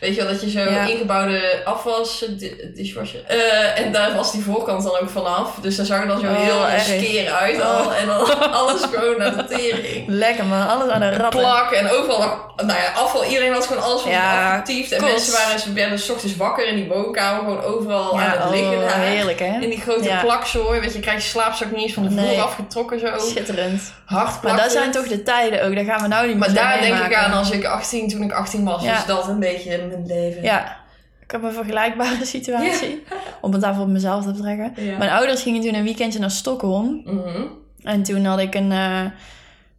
S3: Weet je wel, dat je zo
S1: Ja.
S3: ingebouwde afwas, eh, di- dishwasher. eh, en daar was die voorkant dan ook vanaf. Dus daar zag er dan zo
S1: Oh,
S3: heel
S1: erg. Oh.
S3: skeer uit. Al, en dan alles gewoon naar de tering.
S1: Lekker man, alles aan de ratten.
S3: plak en overal nog- nou ja, afval. Iedereen had gewoon alles van
S1: Ja,
S3: afgetiefd. En
S1: kots.
S3: mensen waren, ze werden 's ochtends wakker in die woonkamer, gewoon overal aan
S1: Ja,
S3: het
S1: oh,
S3: liggen. daar.
S1: heerlijk
S3: In
S1: hè?
S3: die grote
S1: Ja.
S3: plakzooi, weet je, je krijgt je slaapzak niet eens van de vloer
S1: Nee.
S3: afgetrokken zo.
S1: Schitterend.
S3: Hard
S1: Maar dat
S3: plakken.
S1: zijn toch de tijden ook, daar gaan we nou niet meer
S3: Maar
S1: zo
S3: daar denk ik
S1: meemaken.
S3: aan als ik 18, toen ik 18 was,
S1: Ja.
S3: was dat een beetje mijn leven.
S1: Ja, ik heb een vergelijkbare situatie. Om het daarvoor op mezelf te betrekken.
S3: Ja.
S1: Mijn ouders gingen toen een weekendje naar Stockholm.
S3: Mhm.
S1: En toen had ik een, eh,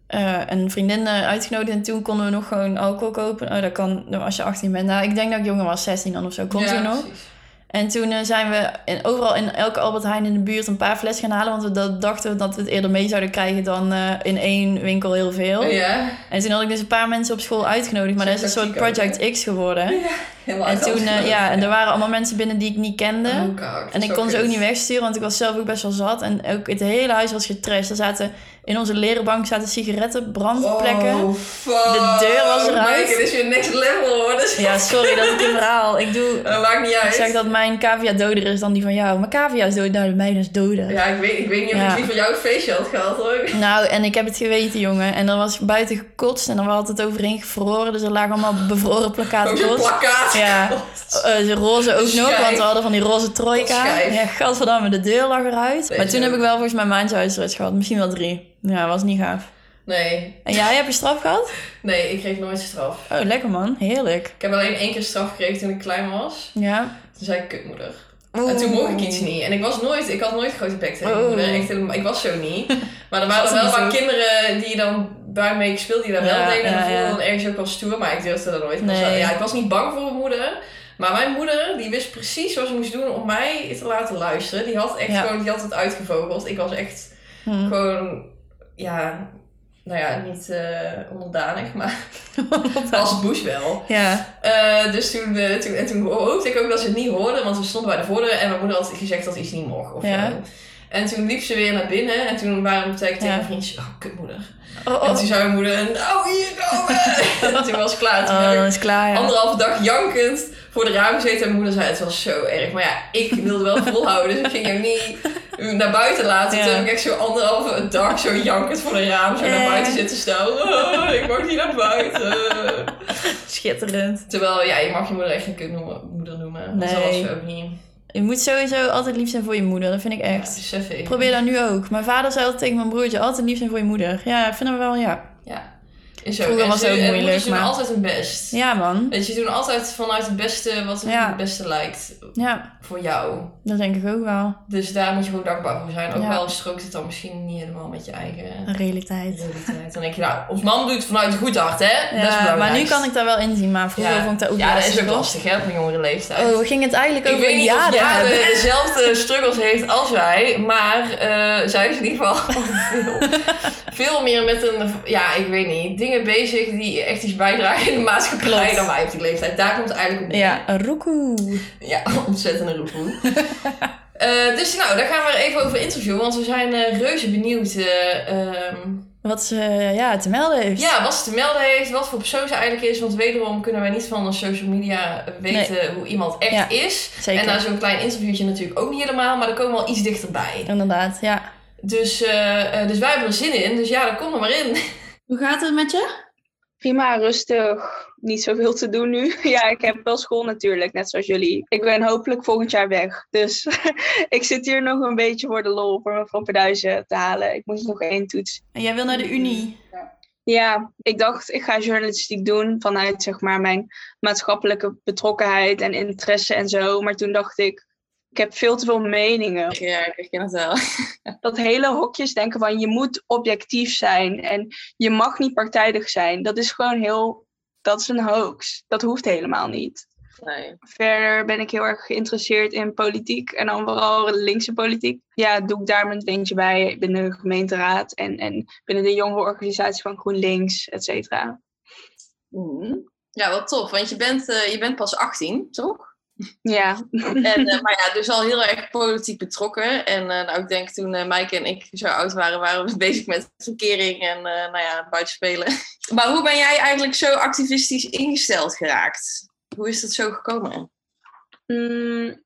S1: eh, een vriendin eh, uitgenodigd. En toen konden we nog gewoon alcohol kopen. Oh, dat kan als je 18 bent. Nou, ik denk dat ik jonger was, 16 dan of zo. Kon
S3: Ja,
S1: toen nog.
S3: precies.
S1: En toen eh, zijn we in, overal in elke Albert Heijn in de buurt een paar flessen gaan halen. Want we dat- dachten dat we het eerder mee zouden krijgen dan eh, in één winkel heel veel.
S3: Ja.
S1: En toen had ik dus een paar mensen op school uitgenodigd. Maar dat is een soort
S3: Tactiek ook, hè?
S1: Project X geworden.
S3: Ja, helemaal
S1: En toen, eh,
S3: uitgelopen.
S1: ja, en er waren allemaal mensen binnen die ik niet kende.
S3: Oh God,
S1: En ik
S3: zo dus-
S1: kon ze
S3: kut.
S1: ook niet wegsturen, want ik was zelf ook best wel zat. En ook het hele huis was getrashed. Er zaten, in onze leren bank zaten sigaretten, brandplekken.
S3: Oh, fuck.
S1: De deur was eruit.
S3: Mike, dit is weer next level hoor. Dus
S1: Ja, sorry dat ik een verhaal. Ik doe...
S3: dat maakt niet
S1: Ik
S3: uit.
S1: zeg dat mijn cavia doder is dan die van jou. Maar cavia is dood, nou, de mijne is doder.
S3: Ja, ik weet, ik weet niet of
S1: Ja.
S3: ik liever jouw feestje had gehad hoor.
S1: Nou, en ik heb het geweten, jongen. En dan was ik buiten gekotst en dan had het overheen gevroren. Dus er lagen allemaal bevroren plakkaten
S3: Ook zo'n
S1: los.
S3: plakkaat.
S1: Ja. Eh, de roze ook nog,
S3: Schijf.
S1: want we hadden van die roze trojka.
S3: Schijf.
S1: Ja, gadverdamme, de deur lag eruit.
S3: Weet
S1: maar
S3: je
S1: toen
S3: ook.
S1: heb ik wel volgens mij maandje huisarts gehad. Misschien wel drie. Ja, was niet gaaf.
S3: Nee,
S1: En jij, heb je straf gehad?
S3: nee, ik kreeg nooit straf.
S1: Oh, lekker man. Heerlijk.
S3: Ik heb alleen één keer straf gekregen toen ik klein was.
S1: Ja.
S3: Toen zei ik kutmoeder. En toen mocht ik iets niet. En ik was nooit, ik had nooit grote bek tegen mijn
S1: Oh.
S3: moeder. Echt helemaal- ik was zo niet. Maar er waren
S1: Was
S3: er wel
S1: niet
S3: wat
S1: zo.
S3: kinderen die dan waarmee ik speelde, die daar
S1: Ja,
S3: wel deden. En
S1: ja,
S3: dat voelde
S1: ja.
S3: dan ergens ook wel stoer, maar ik durfde dat nooit. Ik was
S1: Nee.
S3: wel- ja, ik was niet bang voor mijn moeder. Maar mijn moeder, die wist precies wat ze moest doen om mij te laten luisteren. Die had echt
S1: Ja.
S3: gewoon, die had het uitgevogeld. Ik was echt
S1: Hm.
S3: gewoon, ja, nou ja, niet eh, onderdanig, maar als Bush wel.
S1: Ja.
S3: Eh, dus toen, eh, toen, en toen hoopte ik ook dat ze het niet hoorden, want we stonden bij de voordeur en mijn moeder had gezegd dat iets niet mocht. Of
S1: Ja.
S3: zo. En toen liep ze weer naar binnen en toen waren, zei ik tegen
S1: Ja.
S3: mijn vriendjes, oh kutmoeder.
S1: Oh, oh.
S3: En toen zei mijn moeder, nou hier komen! en toen was ik klaar. Toen
S1: Oh,
S3: heb
S1: dan
S3: ik
S1: is het klaar, ja.
S3: anderhalve dag jankend voor de raam gezeten en mijn moeder zei, het was zo erg. Maar ja, ik wilde wel volhouden, dus ik ging hem niet naar buiten laten.
S1: Ja.
S3: Toen heb ik echt zo anderhalve dag zo jankend voor de raam, zo
S1: Eh.
S3: naar buiten zitten staan. Oh, ik mag niet naar buiten.
S1: Schitterend.
S3: Terwijl, ja, je mag je moeder echt niet noemen, moeder noemen.
S1: Nee.
S3: Dat was ze ook niet.
S1: Je moet sowieso altijd lief zijn voor je moeder. Dat vind ik
S3: Dat
S1: echt.
S3: besef ik.
S1: Probeer dat nu ook. Mijn vader zei altijd tegen mijn broertje, altijd lief zijn voor je moeder. Ja, ik vind hem wel, ja.
S3: Ja. Is ook.
S1: Vroeger
S3: En
S1: was
S3: ze-
S1: het ook
S3: en
S1: moeilijk,
S3: moeders doen
S1: maar-
S3: altijd hun best.
S1: Ja, man.
S3: Weet je, ze doen altijd vanuit het beste wat
S1: Ja.
S3: het het beste lijkt
S1: Ja,
S3: voor jou.
S1: dat denk ik ook wel.
S3: Dus daar moet je gewoon dankbaar voor zijn. Ook
S1: Ja.
S3: wel strookt het dan misschien niet helemaal met je eigen
S1: Een realiteit.
S3: realiteit. Dan denk je, nou, ons man doet het vanuit een goed hart, hè? dat is
S1: Ja,
S3: belangrijk.
S1: maar nu kan ik daar wel inzien, maar vroeger vond ik dat ook
S3: Ja, dat
S1: lastig,
S3: is ook
S1: hoor.
S3: lastig, hè, op een jongere leeftijd.
S1: Oh, ging het eigenlijk
S3: Ik
S1: over
S3: weet niet of
S1: jaren
S3: Jade
S1: hebben?
S3: dezelfde struggles heeft als wij, maar eh, zij is in ieder geval veel, veel meer met een, ja, ik weet niet, dingen bezig die echt iets bijdragen in de maatschappij
S1: Klopt.
S3: dan wij op die leeftijd. Daar komt het eigenlijk op neer.
S1: Ja, een roekoe.
S3: Ja, ontzettende roepoe. Eh, dus nou, daar gaan we even over interviewen, want we zijn eh, reuze benieuwd eh, ehm,
S1: Wat ze ja, te melden heeft.
S3: ja, wat ze te melden heeft, wat voor persoon ze eigenlijk is. Want wederom kunnen wij niet van de social media weten hoe iemand echt
S1: Ja,
S3: is.
S1: zeker.
S3: En na zo'n klein interviewtje natuurlijk ook niet helemaal, maar er komen wel iets dichterbij.
S1: Inderdaad, ja.
S3: Dus, eh, eh, dus wij hebben er zin in, dus ja, dan kom er maar in.
S1: Hoe gaat het met je?
S4: Prima, rustig. Niet zoveel te doen nu. Ja, ik heb wel school natuurlijk, net zoals jullie. Ik ben hopelijk volgend jaar weg. Dus ik zit hier nog een beetje voor de lol, voor mijn Frappeduizen te halen. Ik moest nog één toets.
S1: Jij wil naar de Unie.
S4: Ja, ik dacht, ik ga journalistiek doen vanuit zeg maar mijn maatschappelijke betrokkenheid en interesse en zo. Maar toen dacht ik, ik heb veel te veel meningen
S3: Ja, ik herken het wel.
S4: dat hele hokjes denken van je moet objectief zijn en je mag niet partijdig zijn. Dat is gewoon heel, dat is een hoax. Dat hoeft helemaal niet.
S3: Nee.
S4: Verder ben ik heel erg geïnteresseerd in politiek en dan vooral linkse politiek. Ja, doe ik daar mijn dingetje bij binnen de gemeenteraad en, en binnen de jongerenorganisatie van GroenLinks, et cetera.
S3: Mhm. Ja, wat top, want je bent, eh, je bent pas 18, toch?
S4: Ja,
S3: En, maar ja, dus al heel erg politiek betrokken. En nou, ik denk toen Mike en ik zo oud waren, waren we bezig met verkering en nou ja, buitenspelen. Maar hoe ben jij eigenlijk zo activistisch ingesteld geraakt? Hoe is dat zo gekomen?
S4: Mm,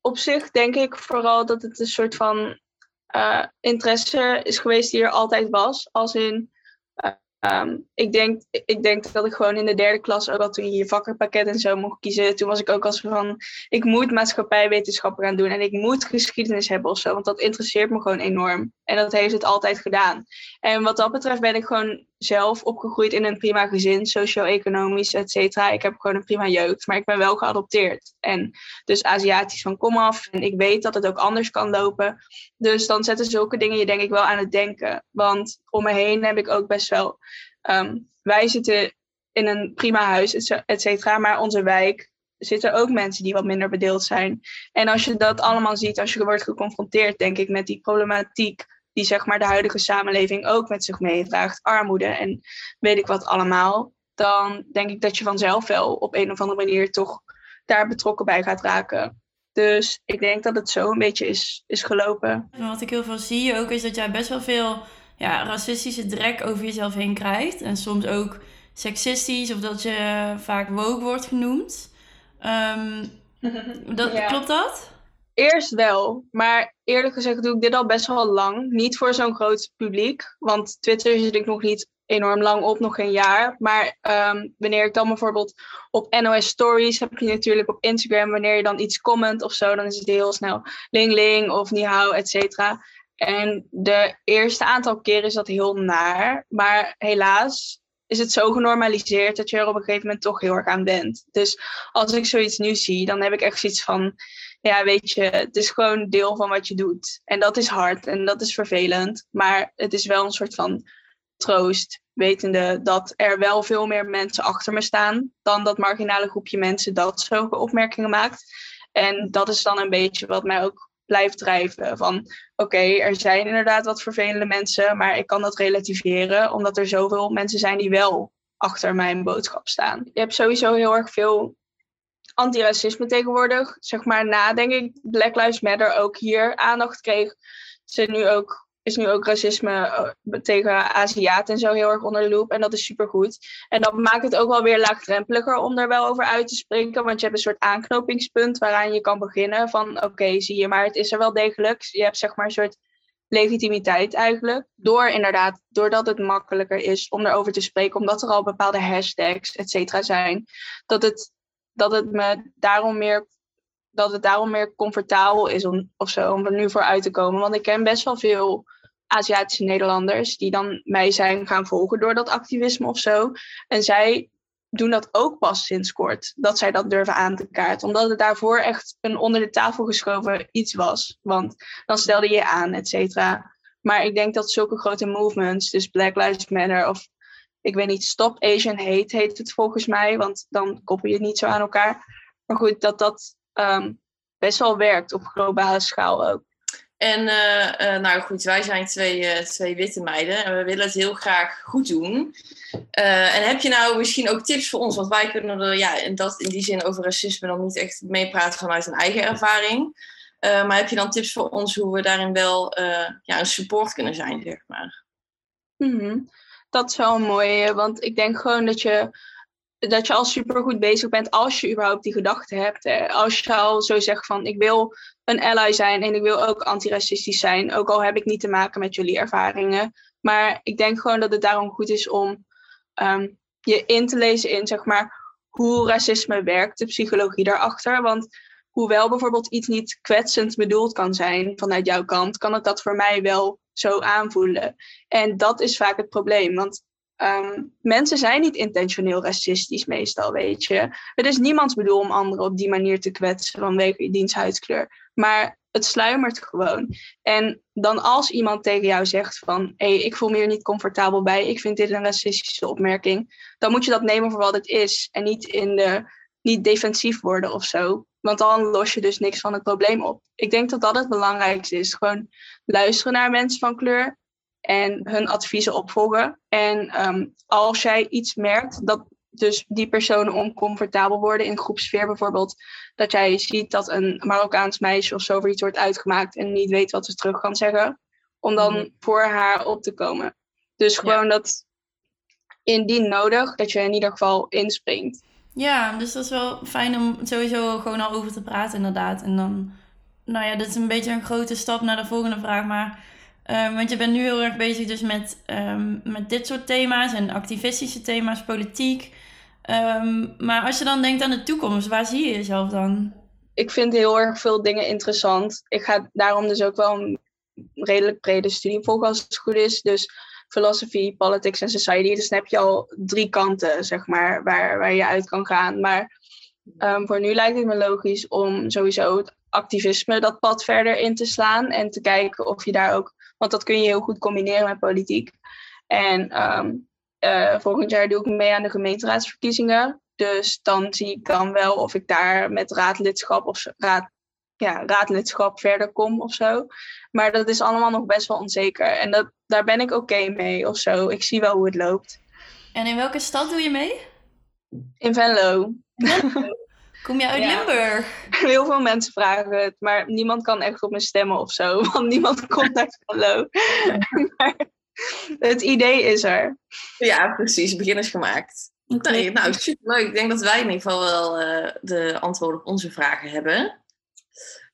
S4: op zich denk ik vooral dat het een soort van eh, interesse is geweest die er altijd was. Als in, eh, ehm, ik, denk, ik denk dat ik gewoon in de derde klas, ook al toen je je vakkenpakket en zo mocht kiezen, toen was ik ook als van, ik moet maatschappijwetenschappen gaan doen en ik moet geschiedenis hebben of zo, want dat interesseert me gewoon enorm. En dat heeft het altijd gedaan. En wat dat betreft ben ik gewoon zelf opgegroeid in een prima gezin, socio-economisch, et cetera. Ik heb gewoon een prima jeugd, maar ik ben wel geadopteerd. En dus Aziatisch van kom af. En ik weet dat het ook anders kan lopen. Dus dan zetten zulke dingen je denk ik wel aan het denken. Want om me heen heb ik ook best wel... ehm, wij zitten in een prima huis, et ce- et cetera. Maar onze wijk zitten ook mensen die wat minder bedeeld zijn. En als je dat allemaal ziet, als je wordt geconfronteerd, denk ik, met die problematiek die zeg maar de huidige samenleving ook met zich meedraagt, armoede en weet ik wat allemaal, dan denk ik dat je vanzelf wel op een of andere manier toch daar betrokken bij gaat raken. Dus ik denk dat het zo een beetje is, is gelopen.
S1: En wat ik heel veel zie ook is dat jij best wel veel ja, racistische drek over jezelf heen krijgt. En soms ook seksistisch of dat je vaak woke wordt genoemd. Ehm, dat,
S4: Ja.
S1: Klopt dat?
S4: Eerst wel, maar eerlijk gezegd doe ik dit al best wel lang. Niet voor zo'n groot publiek, want Twitter zit ik nog niet enorm lang op, nog geen jaar. Maar ehm, wanneer ik dan bijvoorbeeld op NOS Stories heb ik natuurlijk op Instagram, wanneer je dan iets comment of zo, dan is het heel snel ling ling of ni hao, et cetera. En de eerste aantal keer is dat heel naar, maar helaas is het zo genormaliseerd dat je er op een gegeven moment toch heel erg aan bent. Dus als ik zoiets nu zie, dan heb ik echt zoiets van ja, weet je, het is gewoon deel van wat je doet. En dat is hard en dat is vervelend. Maar het is wel een soort van troost, wetende dat er wel veel meer mensen achter me staan dan dat marginale groepje mensen dat zulke opmerkingen maakt. En dat is dan een beetje wat mij ook blijft drijven. Van oké, er zijn inderdaad wat vervelende mensen, maar ik kan dat relativeren omdat er zoveel mensen zijn die wel achter mijn boodschap staan. Je hebt sowieso heel erg veel antiracisme tegenwoordig. Zeg maar na, denk ik, Black Lives Matter ook hier aandacht kreeg. Ze nu ook, is nu ook racisme eh, tegen Aziaten en zo heel erg onder de loep. En dat is supergoed. En dat maakt het ook wel weer laagdrempeliger om daar wel over uit te spreken. Want je hebt een soort aanknopingspunt waaraan je kan beginnen. Van oké, zie je, maar het is er wel degelijk. Je hebt zeg maar een soort legitimiteit eigenlijk. Door inderdaad, doordat het makkelijker is om erover te spreken. Omdat er al bepaalde hashtags, et cetera, zijn. Dat het dat het me daarom meer dat het daarom meer comfortabel is om, of zo, om er nu voor uit te komen. Want ik ken best wel veel Aziatische Nederlanders die dan mij zijn gaan volgen door dat activisme of zo. En zij doen dat ook pas sinds kort, dat zij dat durven aan te kaarten. Omdat het daarvoor echt een onder de tafel geschoven iets was. Want dan stelde je je aan, et cetera. Maar ik denk dat zulke grote movements, dus Black Lives Matter of ik weet niet, Stop Asian Hate heet het volgens mij, want dan koppel je het niet zo aan elkaar. Maar goed, dat dat ehm, best wel werkt op globale schaal ook.
S3: En eh, eh, nou goed, wij zijn twee, eh, twee witte meiden en we willen het heel graag goed doen. Eh, en heb je nou misschien ook tips voor ons? Want wij kunnen er ja, in, dat, in die zin over racisme dan niet echt meepraten vanuit een eigen ervaring. Eh, maar heb je dan tips voor ons hoe we daarin wel eh, ja, een support kunnen zijn, zeg maar?
S4: Mhm. Dat is wel een mooie, want ik denk gewoon dat je, dat je al supergoed bezig bent als je überhaupt die gedachten hebt. hè. Als je al zo zegt van ik wil een ally zijn en ik wil ook antiracistisch zijn, ook al heb ik niet te maken met jullie ervaringen. Maar ik denk gewoon dat het daarom goed is om ehm, je in te lezen in zeg maar hoe racisme werkt, de psychologie daarachter. Want hoewel bijvoorbeeld iets niet kwetsend bedoeld kan zijn vanuit jouw kant, kan het dat voor mij wel zo aanvoelen. En dat is vaak het probleem. Want ehm, mensen zijn niet intentioneel racistisch meestal, weet je. Het is niemands bedoel om anderen op die manier te kwetsen vanwege diens huidskleur. Maar het sluimert gewoon. En dan als iemand tegen jou zegt van... hé, hey, ik voel me hier niet comfortabel bij. Ik vind dit een racistische opmerking. Dan moet je dat nemen voor wat het is. En niet, in de, niet defensief worden of zo. Want dan los je dus niks van het probleem op. Ik denk dat dat het belangrijkste is. Gewoon luisteren naar mensen van kleur en hun adviezen opvolgen. En ehm, als jij iets merkt dat dus die personen oncomfortabel worden in groepsfeer bijvoorbeeld, dat jij ziet dat een Marokkaans meisje of zo voor iets wordt uitgemaakt en niet weet wat ze terug kan zeggen, om dan
S3: Mhm.
S4: voor haar op te komen. Dus gewoon dat indien nodig, dat je in ieder geval inspringt.
S1: Ja, dus dat is wel fijn om sowieso gewoon al over te praten, inderdaad. En dan, nou ja, dit is een beetje een grote stap naar de volgende vraag. Maar, eh, want je bent nu heel erg bezig dus met, ehm, met dit soort thema's en activistische thema's, politiek. Ehm, maar als je dan denkt aan de toekomst, waar zie je jezelf dan?
S4: ik vind heel erg veel dingen interessant. Ik ga daarom dus ook wel een redelijk brede studie volgen als het goed is. Dus philosophy, politics en society. Dus dan heb je al drie kanten, zeg maar, waar, waar je uit kan gaan. Maar ehm, voor nu lijkt het me logisch om sowieso het activisme dat pad verder in te slaan. En te kijken of je daar ook... Want dat kun je heel goed combineren met politiek. En ehm, eh, volgend jaar doe ik mee aan de gemeenteraadsverkiezingen. Dus dan zie ik dan wel of ik daar met raadlidschap of zo- raad, ja, raadlidschap verder kom of zo. Maar dat is allemaal nog best wel onzeker. En dat, daar ben ik oké mee of zo. Ik zie wel hoe het loopt.
S1: En in welke stad doe je mee?
S4: In Venlo.
S1: Kom je uit
S3: Ja.
S1: Limburg?
S4: Heel veel mensen vragen het, maar niemand kan echt op me stemmen of zo. Want niemand komt uit Venlo. maar het idee is er.
S3: Ja, precies. Begin is gemaakt.
S1: Oké.
S3: Nee, nou, superleuk. Ik denk dat wij in ieder geval wel eh, de antwoorden op onze vragen hebben.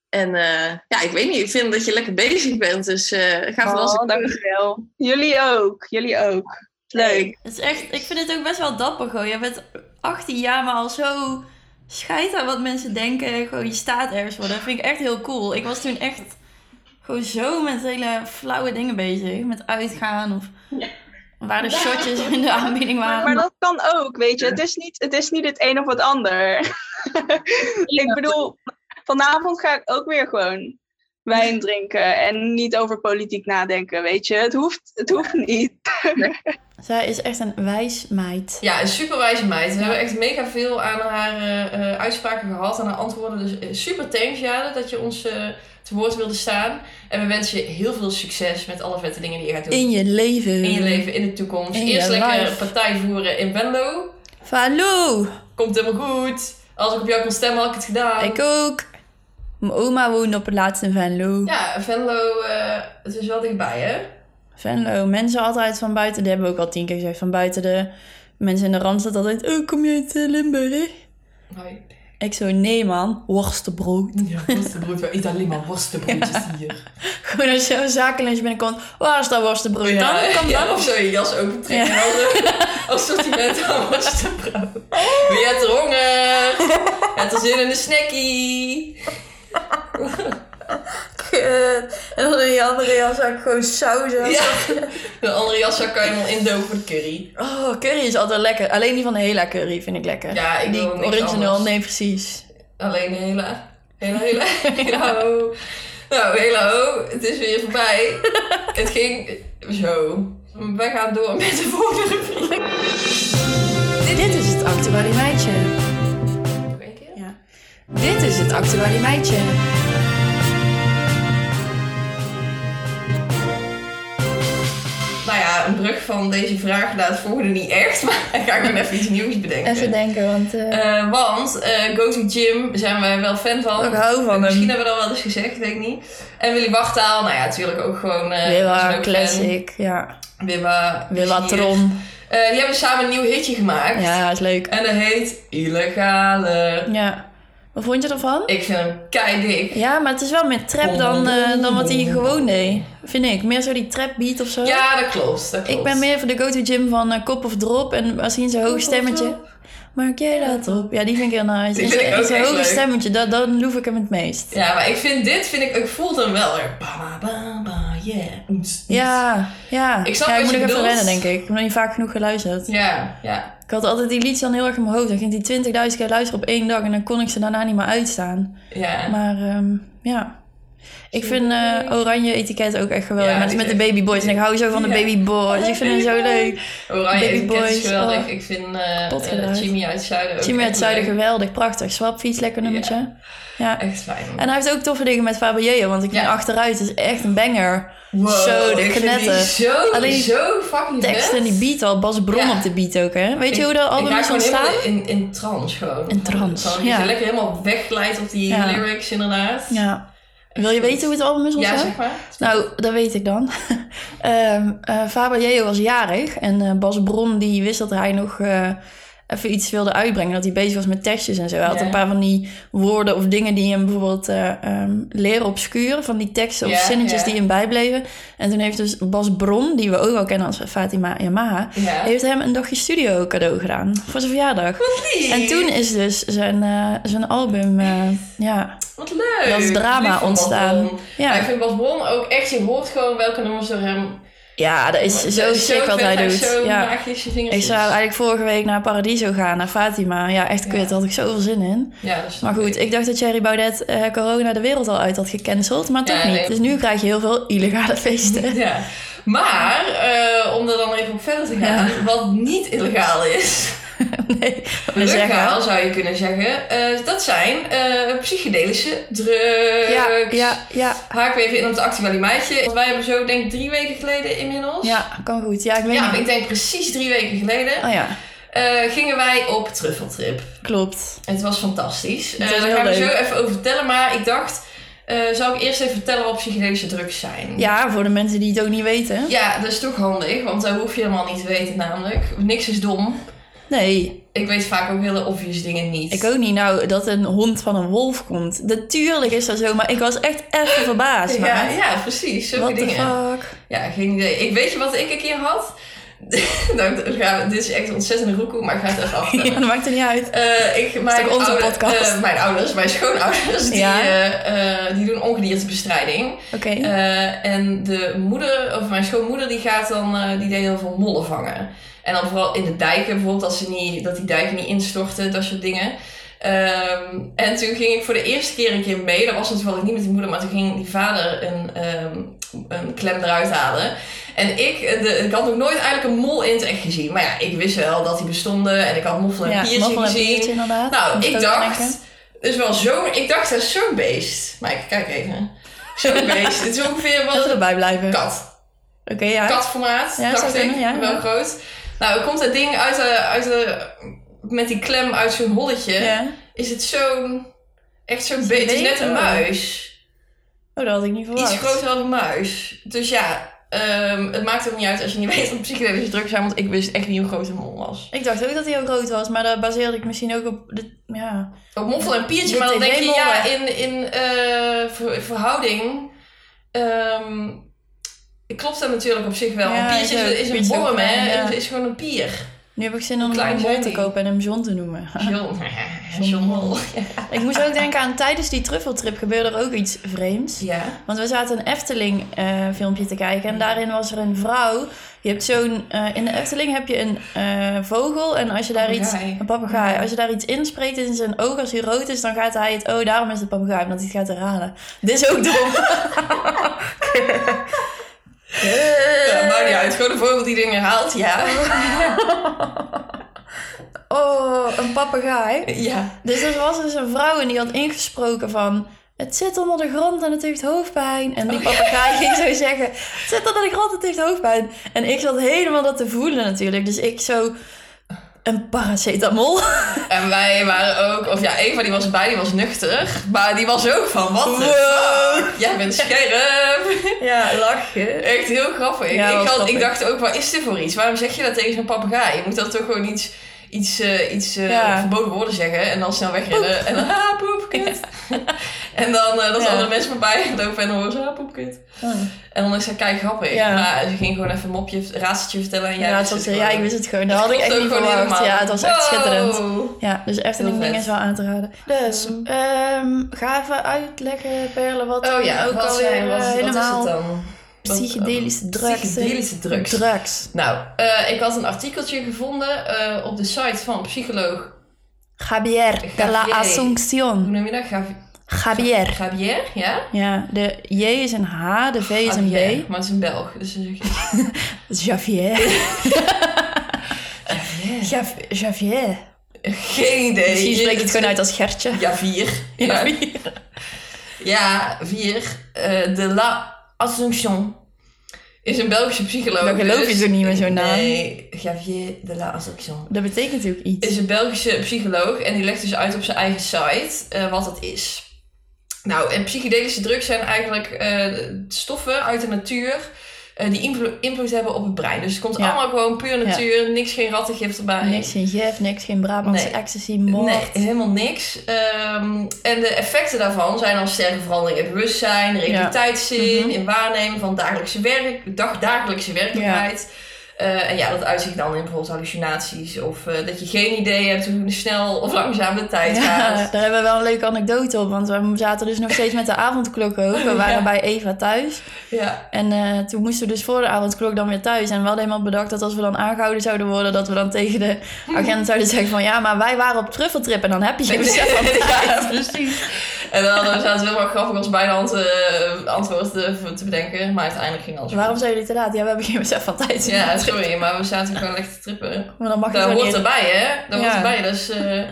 S3: En eh, ja, ik weet niet. Ik vind dat je lekker bezig bent. Dus eh ga vooral
S4: Oh,
S3: eens-
S4: dankjewel. Jullie ook. Jullie ook. Leuk.
S1: Het is echt, ik vind het ook best wel dapper gewoon. Je bent 18 jaar, maar al zo scheid aan wat mensen denken. Gewoon, je staat ergens voor. Dat vind ik echt heel cool. Ik was toen echt gewoon zo met hele flauwe dingen bezig. Met uitgaan of
S3: Ja.
S1: waar de shotjes in de aanbieding
S4: Maar,
S1: waren.
S4: maar dat kan ook, weet je. Het is niet het, is niet het een of het ander. ik bedoel, vanavond ga ik ook weer gewoon wijn drinken en niet over politiek nadenken, weet je. Het hoeft, het hoeft niet.
S1: Zij is echt een wijs meid.
S3: Ja, een superwijze meid. We hebben echt mega veel aan haar eh, eh, uitspraken gehad, aan haar antwoorden. Dus eh, super thanks, Jade, dat je ons eh, te woord wilde staan. En we wensen je heel veel succes met alle vette dingen die je gaat doen.
S1: In je leven.
S3: In je leven, in de toekomst.
S1: In je
S3: Eerst lekker
S1: life.
S3: partij voeren in Venlo.
S1: Hallo,
S3: Komt helemaal goed. Als ik op jou kon stemmen, had ik het gedaan.
S1: ik ook. Mijn oma woonde op het laatste in Venlo.
S3: Ja, Venlo, eh, het is wel dichtbij, hè?
S1: Venlo, mensen altijd van buiten, die hebben we ook al tien keer gezegd, van buiten de mensen in de Randstad altijd, oh, kom je uit eh, Limburg?
S3: Hoi.
S1: Ik zo, nee man, worstenbrood.
S3: Ja, worstenbrood. We eten alleen maar worstenbroodjes hier.
S1: Gewoon als je een zakenlunch binnenkomt, waar is dat worstenbrood? dan
S3: ja,
S1: kom dan
S3: of zo je jas open trekken. en dan, eh, Als sortiment aan worstenbrood. Wie hebt er honger? Het er zin in een snackie?
S1: En dan in je andere jas ook gewoon saus.
S3: Ja. De andere jaszak kan je dan indopen voor de curry.
S1: Oh, curry is altijd lekker. Alleen die van de Hela curry vind ik lekker.
S3: Ja, ik
S1: die
S3: wil niks
S1: original,
S3: anders.
S1: nee precies.
S3: Alleen hela. Hela, hela. hela ho. Nou, hela ho. Het is weer voorbij. het ging zo. Wij gaan door met de volgende rubriek.
S5: Dit, is het actuele meidje.
S3: Nog één keer?
S5: Dit is het actuele meidje.
S3: Nou ja, een brug van deze vraag naar het volgende niet echt. Maar dan ga ik gewoon even iets nieuws bedenken.
S1: denken, want
S3: Eh, want eh Go To Gym zijn wij wel fan van.
S1: ik hou van hem.
S3: Misschien hebben we dat wel eens gezegd, weet ik niet. En Willy Wachtaal, nou ja, natuurlijk ook gewoon... eh, is
S1: Willa,
S3: ook
S1: classic, ja.
S3: fan. Wibba.
S1: Willa,
S3: Plezier.
S1: Tron.
S3: Eh, die hebben samen een nieuw hitje gemaakt.
S1: Ja, is leuk.
S3: En dat heet Illegale.
S1: Ja. Wat vond je ervan?
S3: Ik vind hem keidik.
S1: Ja, maar het is wel meer trap dan, eh, dan wat hij gewoon deed. Vind ik. Meer zo die trap beat of zo.
S3: Ja, dat klopt. Dat klopt.
S1: Ik ben meer voor de go-to gym van eh, kop of drop. En misschien zo'n hoog stemmetje. Maak jij dat op? Ja, die vind ik heel nice.
S3: Die vind ik
S1: En zo-
S3: ook
S1: en zo'n
S3: echt
S1: hoge
S3: leuk.
S1: stemmetje, dat, dan loef ik hem het meest.
S3: Ja, maar ik vind dit, vind ik, ik voel dan wel er. Ba, ba, ba, ba, yeah. Oets, oets.
S1: Ja, ja.
S3: Ik snap
S1: ja, ik
S3: wat
S1: moet nog
S3: je
S1: even
S3: bedoelt.
S1: rennen, denk ik. Ik heb nog niet vaak genoeg geluisterd.
S3: Ja, ja.
S1: Ik had altijd die liedjes dan heel erg in mijn hoofd. Dan ging ik die 20.000 keer luisteren op één dag. En dan kon ik ze daarna niet meer uitstaan.
S3: ja.
S1: Maar ehm, ja. Ik vind eh, oranje etiket ook echt geweldig.
S3: Ja,
S1: met,
S3: die
S1: met
S3: is
S1: de Baby Boys. En ik hou zo van de
S3: Ja.
S1: Baby Boys. Ik vind hem zo leuk.
S3: Oranje
S1: Baby
S3: etiket is
S1: Boys,
S3: geweldig.
S1: oh.
S3: Ik vind eh
S1: Pot
S3: eh,
S1: eruit.
S3: Jimmy uit Zuiden ook
S1: Jimmy uit
S3: echt
S1: Zuiden
S3: leuk.
S1: geweldig. Prachtig. Swapfiets, lekker nummertje. Ja.
S3: Echt fijn.
S1: En hij heeft ook toffe dingen met Fabio, want ik ging
S3: Ja.
S1: achteruit. Het is echt een banger.
S3: Wow,
S1: zo, de
S3: ik vind
S1: knetter.
S3: die Zo,
S1: Alleen
S3: zo fucking
S1: Tekst en die beat al, Bas Bron
S3: Ja.
S1: op de beat ook, hè? Weet je hoe dat album is
S3: is
S1: ontstaan?
S3: In, in trance gewoon.
S1: In trance,
S3: Gewoon dat
S1: ja.
S3: je lekker helemaal wegglijdt op die
S1: Ja.
S3: lyrics inderdaad.
S1: Ja. Wil je weten hoe het album is
S3: Ja,
S1: ontstaan?
S3: zeg maar.
S1: Nou, dat weet ik dan. Ehm eh, Faber Jeo was jarig en eh, Bas Bron die wist dat hij nog eh, even iets wilde uitbrengen. Dat hij bezig was met tekstjes en zo. Hij had
S3: Ja.
S1: een paar van die woorden of dingen die hem bijvoorbeeld eh ehm, leren obscuur. Van die teksten of
S3: Ja,
S1: zinnetjes
S3: ja.
S1: die hem bijbleven. En toen heeft dus Bas Bron, die we ook al kennen als Fatima Yamaha...
S3: Ja.
S1: heeft hem een dagje studio cadeau gedaan voor zijn verjaardag. En toen is dus zijn, eh, zijn album, eh, ja,
S3: Wat leuk.
S1: dat
S3: Lief
S1: drama
S3: van Bas
S1: ontstaan.
S3: Bron. Maar ik
S1: Ja.
S3: vind Bas Bron ook echt, je hoort gewoon welke nummers er hem...
S1: ja, dat is zo
S3: Dat is
S1: sick wat
S3: vet,
S1: hij
S3: heeft
S1: doet.
S3: Zo
S1: ja.
S3: magische
S1: Ik
S3: vingertjes.
S1: zou eigenlijk vorige week naar Paradiso gaan, naar Fatima. Ja, echt kut,
S3: Ja.
S1: daar had ik zoveel zin in.
S3: Ja, dat is
S1: Maar goed, ik dacht dat Thierry Baudet eh, corona de wereld al uit had gecanceld, maar
S3: Ja,
S1: toch niet.
S3: nee.
S1: Dus nu krijg je heel veel illegale feesten.
S3: Ja. Maar, eh, om er dan even op verder te gaan, wat niet illegaal is.
S1: nee, we
S3: Rughaal
S1: zeggen.
S3: zou je kunnen zeggen. Eh, dat zijn eh, psychedelische drugs.
S1: Ja, ja, ja.
S3: Haak we even in op het actualiteitje. Want wij hebben zo denk ik drie weken geleden inmiddels.
S1: Ja, kan goed. Ja, ik weet
S3: Ja,
S1: niet.
S3: ik denk precies drie weken geleden
S1: Oh ja,
S3: eh, gingen wij op truffeltrip.
S1: klopt.
S3: Het was fantastisch.
S1: Het
S3: Eh
S1: was
S3: daar
S1: heel
S3: gaan we
S1: leuk.
S3: zo even over vertellen. Maar ik dacht, eh zou ik eerst even vertellen wat psychedelische drugs zijn?
S1: Ja, voor de mensen die het ook niet weten.
S3: Ja, dat is toch handig, want dat hoef je helemaal niet te weten namelijk. Niks is dom.
S1: Nee,
S3: Ik weet vaak ook hele obvious dingen niet.
S1: ik ook niet. Nou, dat een hond van een wolf komt. Natuurlijk is dat zo, maar ik was echt even verbaasd.
S3: Ja,
S1: maar
S3: ja, precies. Zulke
S1: What the
S3: dingen.
S1: fuck?
S3: Ja, geen idee. Ik weet je wat ik een keer had? nou, dan gaan we- dit is echt een ontzettende roekoe, maar ik ga het even
S1: Ja,
S3: aftellen.
S1: dat maakt er niet uit.
S3: Eh, ik, mijn,
S1: toch onze
S3: oude-
S1: podcast?
S3: eh, mijn ouders, mijn schoonouders, die,
S1: Ja.
S3: eh, eh, die doen ongediertebestrijding.
S1: Oké.
S3: Eh, en de moeder, of mijn schoonmoeder, die gaat dan, eh, die deed heel veel mollen vangen. En dan vooral in de dijken, bijvoorbeeld, als ze niet, dat die dijken niet instorten, dat soort dingen. Ehm, en toen ging ik voor de eerste keer een keer mee. Dat was het toevallig niet met die moeder, maar toen ging die vader een, ehm, een klem eruit halen. En ik, eh, de, ik had nog nooit eigenlijk een mol in het echt gezien. Maar ja, ik wist wel dat die bestonden en ik had moffel en
S1: ja,
S3: piertje
S1: moffel en
S3: gezien.
S1: biertje inderdaad.
S3: Nou,
S1: Moet
S3: ik
S1: ook
S3: dacht.
S1: denken.
S3: Dus wel zo, ik dacht dat is zo'n beest. Maar ik- kijk even. Zo'n beest. Het is ongeveer
S1: Laten we
S3: wel
S1: erbij blijven.
S3: een
S1: Oké,
S3: kat.
S1: ja.
S3: Katformaat,
S1: Ja, zou
S3: dacht ik.
S1: kunnen, ja,
S3: wel
S1: ja.
S3: groot. Nou, komt dat ding uit de, uit de, met die klem uit zo'n holletje.
S1: Ja.
S3: Is het zo'n, echt zo'n
S1: Zo'n
S3: beest. Het is net
S1: beest,
S3: een
S1: hoor.
S3: muis.
S1: Oh, dat had ik niet verwacht.
S3: Iets groter dan een muis. Dus ja, ehm, het maakt ook niet uit als je niet weet wat psychedelische drugs zijn. Want ik wist echt niet hoe groot een mol was.
S1: Ik dacht ook dat hij heel groot was, maar dat baseerde ik misschien ook op... De, ja.
S3: Ook moffel en piertje,
S1: Dit
S3: maar dan
S1: is
S3: denk je,
S1: geen
S3: ja,
S1: mollen.
S3: in, in eh, ver- verhouding ehm, klopt dat natuurlijk op zich wel.
S1: Ja,
S3: een piertje
S1: is ook.
S3: is, is een
S1: Piertje is ook
S3: borm, hè.
S1: klein, ja.
S3: Het is gewoon een pier.
S1: Nu heb ik zin om
S3: klein
S1: een
S3: zijn
S1: mol te
S3: die?
S1: kopen en hem John te noemen.
S3: John, John Mol.
S1: ik moest ook denken aan tijdens die truffeltrip gebeurde er ook iets vreemds.
S3: Ja.
S1: Want we zaten een Efteling eh, filmpje te kijken en daarin was er een vrouw. Je hebt zo'n, eh, in de Efteling heb je een eh, vogel en als je daar iets,
S3: Papegaai.
S1: een papegaai, als je daar iets inspreekt in zijn oog, als hij rood is, dan gaat hij het, oh daarom is het papegaai, omdat hij het gaat herhalen. Dit is ook dom. Eh.
S3: ja, Eh, maakt niet uit. Gewoon een vogel die dingen haalt, ja.
S1: Oh, een papegaai.
S3: Ja.
S1: Dus er was dus een vrouw en die had ingesproken van... Het zit onder de grond en het heeft hoofdpijn. En die papegaai ging zo zeggen... Het zit onder de grond en het heeft hoofdpijn. En ik zat helemaal dat te voelen natuurlijk. Dus ik zo... Een paracetamol.
S3: En wij waren ook, of ja, Eva die was erbij, die was nuchter. Maar die was ook van, wat de
S1: Wow.
S3: fuck? Jij bent scherp.
S1: Ja, lachen.
S3: Echt heel grappig.
S1: Ja, wel
S3: ik, had,
S1: grappig.
S3: ik dacht ook, wat is dit voor iets? Waarom zeg je dat tegen zo'n papegaai? Je moet dat toch gewoon iets, iets, eh, iets eh,
S1: Ja.
S3: verboden woorden zeggen en dan snel wegrennen. En dan, ah, poep, kut. en dan eh dat
S1: Ja.
S3: andere mensen voorbij lopen en dan horen ze, ah, poep, kut. En dan is dat kei grappig.
S1: Ja.
S3: Maar ze ging gewoon even een mopje, een raadseltje vertellen. En jij
S1: Ja, het
S3: wist
S1: was,
S3: het dus
S1: ja, ik
S3: gewoon.
S1: wist het gewoon. Dat had ik
S3: Klopt
S1: echt
S3: ook
S1: niet
S3: gewoon
S1: verwacht.
S3: helemaal.
S1: Ja, het was echt
S3: Wow.
S1: schitterend.
S3: Oh
S1: Ja, dus Efteling
S3: Heel vet.
S1: ding is wel aan te raden. Dus, ehm, ga even uitleggen, Perle, wat
S3: Oh ja,
S1: ook
S3: wat,
S1: alweer
S3: zijn, wat,
S1: eh,
S3: wat
S1: helemaal
S3: is het dan? Wat-
S1: psychedelische drugs.
S3: Psychedelische drugs.
S1: Drugs.
S3: Nou, eh, ik had een artikeltje gevonden eh, op de site van psycholoog,
S1: Javier de la
S3: Javier.
S1: Asunción.
S3: hoe noem je dat? Gavi-
S1: Javier.
S3: Javier, ja?
S1: Ja, de J is een H, de V is een
S3: Javier,
S1: B. Dus
S3: Maar het is een Belg, dus dan zeg je
S1: Javier.
S3: Javier.
S1: Jav- Javier.
S3: Eh, Geen idee.
S1: Misschien spreekt het gewoon uit
S3: als...
S1: als Gertje.
S3: Javier. Ja,
S1: Javier.
S3: ja vier. eh, de La Assumption. Is een Belgische psycholoog.
S1: Dat geloof je
S3: dus-
S1: toch niet met zo'n naam?
S3: Nee, Javier de La Assumption.
S1: Dat betekent ook iets.
S3: Is een Belgische psycholoog en die legt dus uit op zijn eigen site eh, wat het is. Nou, en psychedelische drugs zijn eigenlijk eh, stoffen uit de natuur eh, die invlo- invloed hebben op het brein. Dus het komt
S1: Ja.
S3: allemaal gewoon puur natuur, niks geen rattengift erbij.
S1: Niks geen jef, niks geen Brabantse
S3: Nee.
S1: ecstasy, moord.
S3: Nee, helemaal niks. Ehm, en de effecten daarvan zijn dan sterke veranderingen in bewustzijn, realiteitszin,
S1: Mhm.
S3: in waarnemen van dagelijkse, werk, dag, dagelijkse werkelijkheid. Eh, en ja, dat uitzicht dan in bijvoorbeeld hallucinaties of eh, dat je geen idee hebt hoe snel of langzaam de tijd
S1: Ja,
S3: gaat.
S1: daar hebben we wel een leuke anekdote op, want we zaten dus nog steeds met de avondklok ook. We waren
S3: Ja.
S1: bij Eva thuis
S3: Ja,
S1: en eh, toen moesten we dus voor de avondklok dan weer thuis. En we hadden helemaal bedacht dat als we dan aangehouden zouden worden, dat we dan tegen de
S3: Hmm.
S1: agent zouden zeggen van ja, maar wij waren op truffeltrip en dan heb je geen besef van tijd.
S3: precies. En dan eh, zaten we helemaal grappig ons bijna ant, eh, antwoord te, te bedenken. Maar uiteindelijk ging alles
S1: Waarom
S3: goed.
S1: zijn jullie te laat? Ja, we hebben geen besef van tijd.
S3: Ja, sorry, maar we zaten gewoon lekker te trippen.
S1: Maar dan mag je
S3: Dat
S1: gewoon
S3: hoort
S1: niet
S3: erbij, hè? Dat
S1: Ja.
S3: hoort erbij. Dus eh,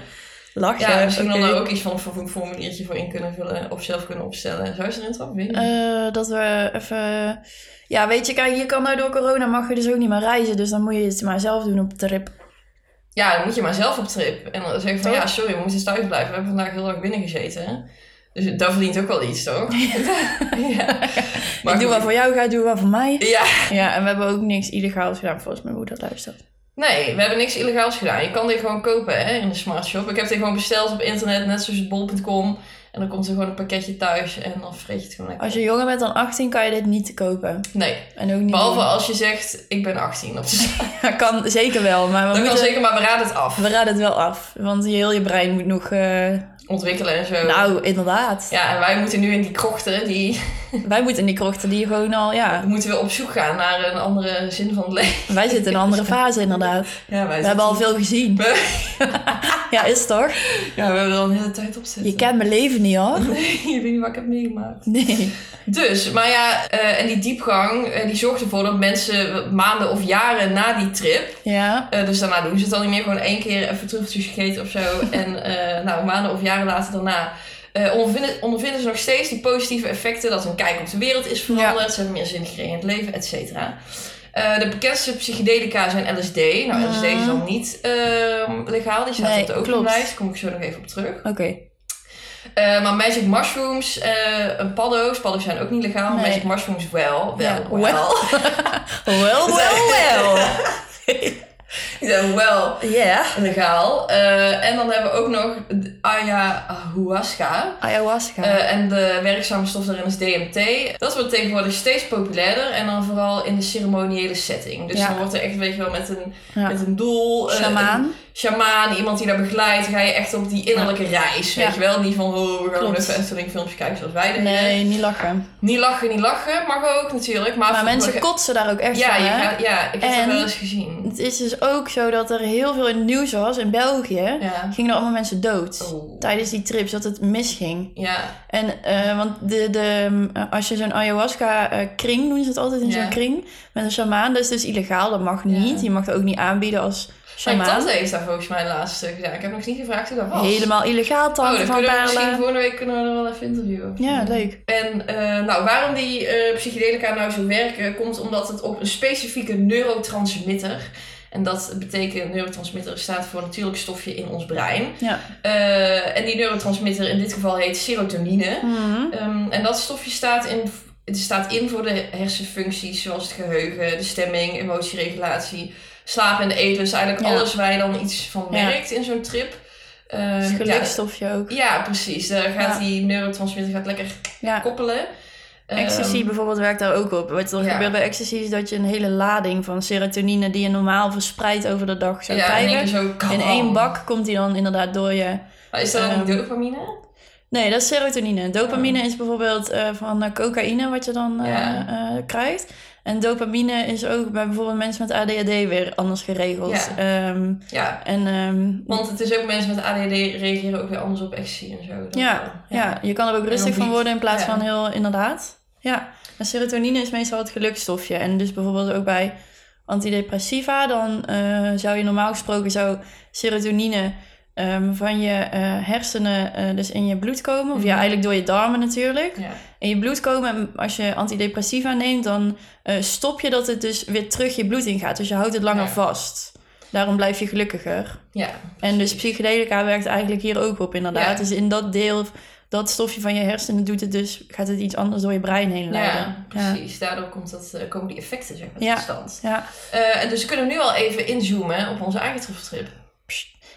S1: lachen.
S3: ja, misschien
S1: oké.
S3: dan daar ook iets van een formuliertje voor in kunnen vullen. Of zelf kunnen opstellen. Zou je erin trappen? Weet ik niet.
S1: Eh, dat we even... Ja, weet je, kijk, je kan nou door corona mag je dus ook niet meer reizen. Dus dan moet je het maar zelf doen op de trip.
S3: Ja, dan moet je maar zelf op trip. En dan zeg je van,
S1: Toch?
S3: ja, sorry, we moeten thuis blijven. We hebben vandaag heel erg binnen gezeten. Dus dat verdient ook wel iets, toch? ja.
S1: ik doe
S3: goed.
S1: wat voor jou, ga doe wat voor mij.
S3: Ja,
S1: Ja, en we hebben ook niks illegaals gedaan, volgens mijn moeder luistert.
S3: nee, we hebben niks illegaals gedaan. Je kan dit gewoon kopen hè, in de smart shop. Ik heb dit gewoon besteld op internet, net zoals bol.com. En dan komt er gewoon een pakketje thuis en dan vreet je het gewoon lekker.
S1: Als je jonger bent dan 18 kan je dit niet te kopen.
S3: Nee,
S1: En ook niet
S3: behalve
S1: doen.
S3: als je zegt, ik ben 18 of zo.
S1: Ja, kan zeker wel, maar we,
S3: Dan kan
S1: moeten-
S3: zeker, maar we raden het af.
S1: we raden het wel af. Want heel je brein moet nog... eh,
S3: Ontwikkelen en zo.
S1: Nou, inderdaad.
S3: Ja, en wij moeten nu in die krochten, die
S1: Wij moeten in die krochten die gewoon al... Ja,
S3: moeten we op zoek gaan naar een andere zin van het leven.
S1: wij zitten in een andere fase inderdaad.
S3: Ja, wij
S1: We hebben al veel gezien. Ja, is het toch?
S3: Ja, we hebben er al een hele tijd op zitten.
S1: Je kent mijn leven niet hoor.
S3: Je weet niet wat ik heb meegemaakt.
S1: Nee.
S3: Dus, maar ja, eh, en die diepgang, eh, die zorgt ervoor dat mensen maanden of jaren na die trip...
S1: Ja.
S3: eh, dus daarna doen ze het al niet meer, gewoon één keer even truffeltjes gegeten of zo. en eh, nou, maanden of jaren later daarna... eh, ondervinden, ondervinden ze nog steeds die positieve effecten... dat hun kijk op de wereld is veranderd, ze hebben meer zin gekregen in het leven, et cetera. Eh, de bekendste psychedelica zijn LSD. Nou, LSD is dan niet ehm, legaal, die staat
S1: Ah. Nee,
S3: op de
S1: klopt.
S3: openlijst. Daar kom ik zo nog even op terug.
S1: Oké.
S3: Eh, maar magic mushrooms, eh, en paddo's, paddo's zijn ook niet legaal.
S1: Nee.
S3: Magic mushrooms wel, wel,
S1: Ja,
S3: wel.
S1: wel. Wel, wel, wel.
S3: Die zijn wel
S1: Ja.
S3: legaal. Eh, en dan hebben we ook nog de ayahuasca.
S1: Ayahuasca.
S3: Eh, en de werkzame stof daarin is DMT. Dat wordt tegenwoordig steeds populairder. En dan vooral in de ceremoniële setting. Dus
S1: Ja.
S3: dan wordt er echt, weet je wel, met een,
S1: Ja.
S3: met een doel. eh,
S1: Shamaan.
S3: een shamaan, iemand die daar begeleidt. Ga je echt op die innerlijke reis, weet
S1: Ja.
S3: je wel. Niet van, oh, we gaan
S1: Klopt.
S3: even Efteling filmpjes kijken zoals wij dat deden.
S1: Nee, niet lachen.
S3: Niet lachen, niet lachen, mag ook natuurlijk. Maar,
S1: Maar mensen
S3: Ja,
S1: kotsen daar ook echt van,
S3: je
S1: hè?
S3: gaat- ja, ik heb
S1: En-
S3: dat wel eens gezien.
S1: Het is dus ook zo dat er heel veel in het nieuws was in België.
S3: Ja.
S1: Gingen er allemaal mensen dood
S3: Oh.
S1: tijdens die trips, dat het misging.
S3: Ja,
S1: En eh, want de, de, eh, als je zo'n ayahuasca-kring, doen ze het altijd in
S3: Ja.
S1: zo'n kring, met een shamaan. Dat is dus illegaal, dat mag niet. Je mag het ook niet aanbieden als
S3: mijn
S1: shamaan.
S3: tante heeft daar volgens mij laatst stuk gedaan. Ik heb nog niet gevraagd hoe dat was.
S1: Helemaal illegaal,
S3: Oh,
S1: tante
S3: dan
S1: van
S3: kunnen we misschien
S1: Perlen.
S3: volgende week kunnen we er wel even interviewen.
S1: Ja, leuk.
S3: En eh, nou, waarom die eh, psychedelica nou zo werken, komt omdat het op een specifieke neurotransmitter. En dat betekent, neurotransmitter staat voor een natuurlijk stofje in ons brein.
S1: Ja.
S3: Eh, en die neurotransmitter in dit geval heet serotonine.
S1: Mhm.
S3: Ehm, en dat stofje staat in, het staat in voor de hersenfuncties, zoals het geheugen, de stemming, emotieregulatie, slapen en eten. Dus eigenlijk
S1: Ja.
S3: alles waar je dan iets van
S1: Ja.
S3: merkt in zo'n trip. Ehm,
S1: Het
S3: ja,
S1: gelukstofje ook.
S3: ja, precies. Daar gaat
S1: Ja.
S3: die neurotransmitter gaat lekker
S1: Ja.
S3: koppelen. Ehm,
S1: Ecstasy bijvoorbeeld werkt daar ook op. Wat er
S3: Ja.
S1: gebeurt bij ecstasy is dat je een hele lading van serotonine... die je normaal verspreidt over de dag zou
S3: ja, in één
S1: krijgen.
S3: keer zo. Oh.
S1: In
S3: kabam.
S1: één bak komt die dan inderdaad door je.
S3: Maar Is dat dan
S1: Ehm,
S3: niet dopamine?
S1: Nee, dat is serotonine. Dopamine is bijvoorbeeld eh, van eh, cocaïne wat je dan eh,
S3: Ah. Ja.
S1: eh, krijgt. En dopamine is ook bij bijvoorbeeld mensen met ADHD weer anders geregeld. Ehm,
S3: Ja.
S1: en ehm,
S3: Want het is ook mensen met ADD reageren ook weer anders op ecstasy en zo. Dat wel.
S1: ja, ja, je kan er ook rustig van
S3: ontwiekt.
S1: worden in plaats
S3: Ja.
S1: van heel inderdaad. Ja, en serotonine is meestal het gelukstofje. En dus bijvoorbeeld ook bij antidepressiva, dan eh, zou je normaal gesproken zou serotonine ehm, van je eh, hersenen eh, dus in je bloed komen. Of ja,
S3: Mhm.
S1: eigenlijk door je darmen natuurlijk.
S3: Ja.
S1: in je bloed komen. En als je antidepressiva neemt, dan eh, stop je dat het dus weer terug je bloed ingaat. Dus je houdt het langer
S3: Ja.
S1: vast. Daarom blijf je gelukkiger.
S3: ja.
S1: En dus psychedelica werkt eigenlijk hier ook op, inderdaad.
S3: Ja.
S1: Dus in dat deel, dat stofje van je hersenen doet het dus, gaat het iets anders door je brein heen leiden.
S3: Ja, precies. Daardoor komt dat, eh, komen die effecten zeg maar,
S1: Ja.
S3: tot stand.
S1: Ja. Ja.
S3: Eh, en dus kunnen we nu al even inzoomen op onze eigen truffeltrip.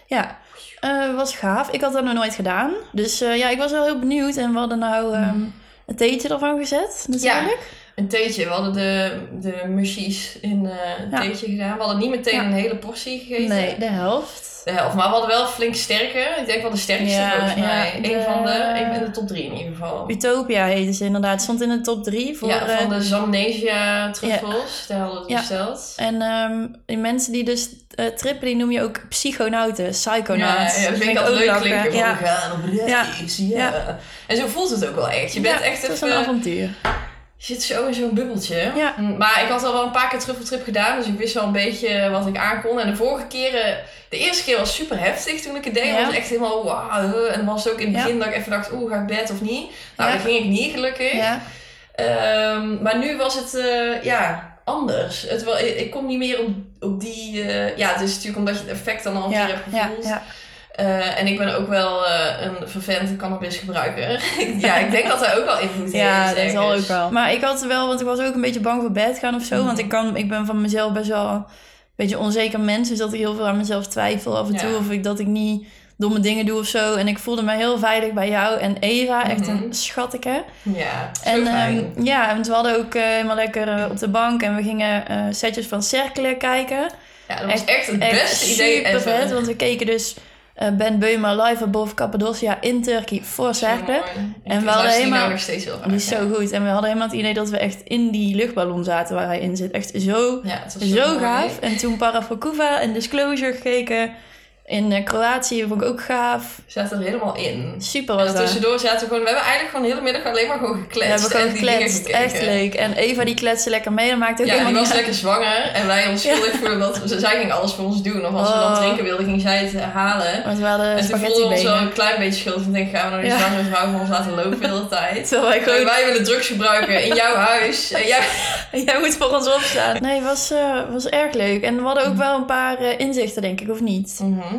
S1: Ja, Eh, was gaaf. Ik had dat nog nooit gedaan.
S3: Mhm.
S1: Dus eh, ja, ik was wel heel benieuwd. En we hadden nou ehm een theetje ervan gezet, natuurlijk.
S3: een theetje. We hadden de, de mushies in eh, een
S1: Ja.
S3: theetje gedaan. We hadden niet meteen
S1: Ja.
S3: een hele portie gegeten.
S1: Nee, de helft.
S3: De helft. Maar we hadden wel flink sterke. Ik denk wel de sterkste
S1: Ja,
S3: volgens
S1: ja.
S3: mij. Eén
S1: De-
S3: van de, ik ben de top drie in ieder geval.
S1: Utopia heette ze inderdaad. Stond in de top drie voor...
S3: ja,
S1: eh,
S3: van de Zamnesia truffels. Daar hadden we het
S1: Ja.
S3: besteld.
S1: En ehm, die mensen die dus eh, trippen, die noem je ook psychonauten,
S3: Ja,
S1: psychonauts.
S3: ja, dat vind ik
S1: ook
S3: altijd leuk
S1: lachen.
S3: klinken. van,
S1: Ja,
S3: We gaan op reis. Ja.
S1: Ja.
S3: En zo voelt het ook wel echt. Je bent
S1: Ja,
S3: echt
S1: het is
S3: even...
S1: een avontuur.
S3: Je zit zo in zo'n bubbeltje.
S1: Ja.
S3: Mm, Maar ik had al wel een paar keer truffeltrip gedaan, dus ik wist wel een beetje wat ik aankon. En de vorige keren, de eerste keer was super heftig toen ik het deed.
S1: Ja.
S3: was echt helemaal wauw. En was het ook in het
S1: Ja.
S3: begin dat ik even dacht, oeh, ga ik bed of niet? Nou,
S1: Ja.
S3: dat ging ik niet gelukkig.
S1: Ja.
S3: Ehm, maar nu was het, eh, ja, anders. Het wel, ik, ik kom niet meer op, op die... eh, ja, het is natuurlijk omdat je het effect dan al een
S1: Ja,
S3: keer hebt
S1: ja,
S3: gevoeld.
S1: ja.
S3: Eh, en ik ben ook wel eh, een vervent cannabisgebruiker. ja, ik denk dat daar ook wel invloed
S1: Ja,
S3: heeft. dus.
S1: dat zal
S3: ergens.
S1: ook wel. Maar ik had wel, want ik was ook een beetje bang voor bed gaan of zo. Want
S3: Mhm.
S1: ik, kan, ik ben van mezelf best wel een beetje onzeker mens. Dus dat ik heel veel aan mezelf twijfel af en toe.
S3: Ja.
S1: Of ik, dat ik niet domme dingen doe of zo. En ik voelde me heel veilig bij jou en Eva. Echt een
S3: Mhm.
S1: schatteke.
S3: Ja, zo
S1: En
S3: fijn.
S1: ehm, ja, want we hadden ook eh, helemaal lekker eh, op de bank. En we gingen eh, setjes van Cerkelen kijken.
S3: ja, dat was echt het beste idee
S1: super
S3: ever.
S1: vet, want we keken dus eh, Ben Beuma live above Cappadocia in Turkey voor
S3: Zo
S1: Cerkelen.
S3: mooi. Ik
S1: hadden
S3: luister die
S1: helemaal-
S3: nou nog steeds heel vaak.
S1: Die is zo goed. En we hadden helemaal het idee dat we echt in die luchtballon zaten waar hij in zit. Echt zo,
S3: Ja, het was
S1: zo
S3: mooi.
S1: gaaf. En toen Parafokuva en Disclosure gekeken. In eh, Kroatië vond ik ook gaaf.
S3: We zaten er helemaal in.
S1: Super
S3: En
S1: was
S3: dan
S1: dat.
S3: tussendoor zaten we gewoon... We hebben eigenlijk gewoon de hele middag alleen maar gewoon
S1: We hebben
S3: gekletst.
S1: gewoon
S3: en die dingen
S1: gekletst.
S3: gekeken.
S1: Echt leuk. En Eva die kletste lekker mee. Dat maakte ook
S3: Ja, die
S1: helemaal
S3: was
S1: niet uit.
S3: lekker zwanger. En wij ons schuldig voelen, want ze- zij ging alles voor ons doen. Of als we dan
S1: Oh.
S3: drinken wilden, ging zij het eh, halen.
S1: Want we hadden
S3: En toen voelden we ons wel
S1: spaghetti
S3: een klein beetje schuldig. En denk gaan we naar die
S1: Ja.
S3: zwangere vrouw van ons laten lopen de hele tijd.
S1: Terwijl wij gewoon
S3: Wij willen drugs gebruiken in jouw huis. En jij...
S1: Jij moet voor ons opstaan. Nee, was, eh, was erg leuk. En we hadden
S3: Mm.
S1: ook wel een paar eh, inzichten, denk ik, of niet?
S3: Mhm.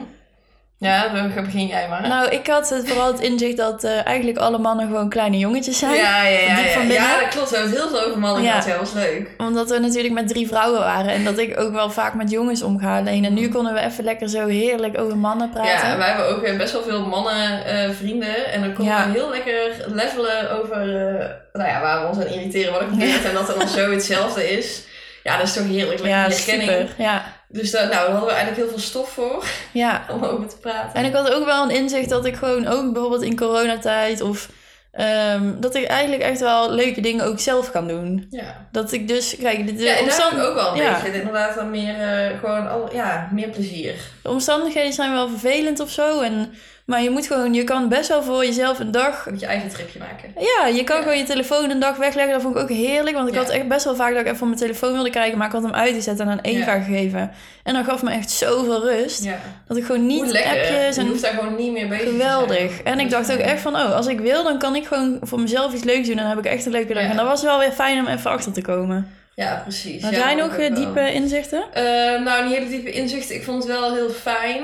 S3: Ja, dan begin jij maar.
S1: Nou, ik had het vooral het inzicht dat eh, eigenlijk alle mannen gewoon kleine jongetjes zijn.
S3: Ja, ja, ja.
S1: Diep
S3: ja.
S1: van binnen.
S3: ja, dat klopt. We hebben het heel veel over mannen
S1: Ja.
S3: gehad. Ja, dat was leuk.
S1: Omdat we natuurlijk met drie vrouwen waren. En dat ik ook wel vaak met jongens omga alleen. En nu konden we even lekker zo heerlijk over mannen praten.
S3: Mm. Ja, wij hebben ook eh, best wel veel mannen eh, vrienden. En dan konden
S1: Ja.
S3: we heel lekker levelen over eh, nou ja, waar we ons aan irriteren, wat er gebeurt. En dat het dan zo hetzelfde is. Ja, dat is toch heerlijk. Lekker
S1: Ja,
S3: die herkenning.
S1: super. Ja.
S3: Dus daar, nou, daar hadden we eigenlijk heel veel stof voor
S1: ja.
S3: om over te praten.
S1: En ik had ook wel een inzicht dat ik gewoon ook bijvoorbeeld in coronatijd of... ehm, dat ik eigenlijk echt wel leuke dingen ook zelf kan doen.
S3: ja.
S1: Dat ik dus, kijk, de, de
S3: ja, en daar heb
S1: omstand-
S3: ik ook wel een
S1: ja.
S3: beetje inderdaad dan meer, eh, gewoon al, ja, meer plezier.
S1: De omstandigheden zijn wel vervelend of zo. En, maar je moet gewoon, je kan best wel voor jezelf een dag.
S3: Moet je eigen tripje maken.
S1: Ja, je kan
S3: Ja.
S1: gewoon je telefoon een dag wegleggen. Dat vond ik ook heerlijk. Want ik
S3: Ja.
S1: had echt best wel vaak dat ik even op mijn telefoon wilde kijken. Maar ik had hem uitgezet en aan Eva gegeven. En dat gaf me echt zoveel rust.
S3: Ja.
S1: Dat ik gewoon
S3: Hoe
S1: niet
S3: lekker.
S1: appjes
S3: Je hoeft
S1: en
S3: daar gewoon niet meer bezig te zijn.
S1: geweldig. En ik dacht ook echt van, oh, als ik wil, dan kan ik gewoon voor mezelf iets leuks doen. En dan heb ik echt een leuke dag.
S3: Ja.
S1: En dat was wel weer fijn om even achter te komen.
S3: Ja, precies.
S1: Had
S3: Ja,
S1: jij
S3: dat
S1: nog
S3: ook
S1: eh,
S3: wel.
S1: diepe inzichten?
S3: Eh, nou, een hele diepe inzicht. Ik vond het wel heel fijn.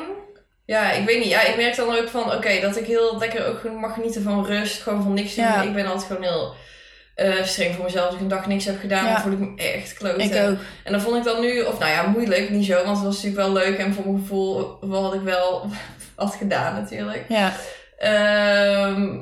S3: Ja, ik weet niet. Ja, ik merk dan ook van, oké, dat ik heel lekker ook gewoon mag genieten van rust. Gewoon van niks doen.
S1: Ja.
S3: Ik ben altijd gewoon heel eh, streng voor mezelf. Als ik een dag niks heb gedaan,
S1: Ja.
S3: dan voel ik me echt kloten.
S1: Ik ook.
S3: En dan vond ik dan nu, of nou ja, moeilijk, niet zo. Want het was natuurlijk wel leuk. En voor mijn gevoel wat ik wel had gedaan natuurlijk.
S1: Ja.
S3: Ehm,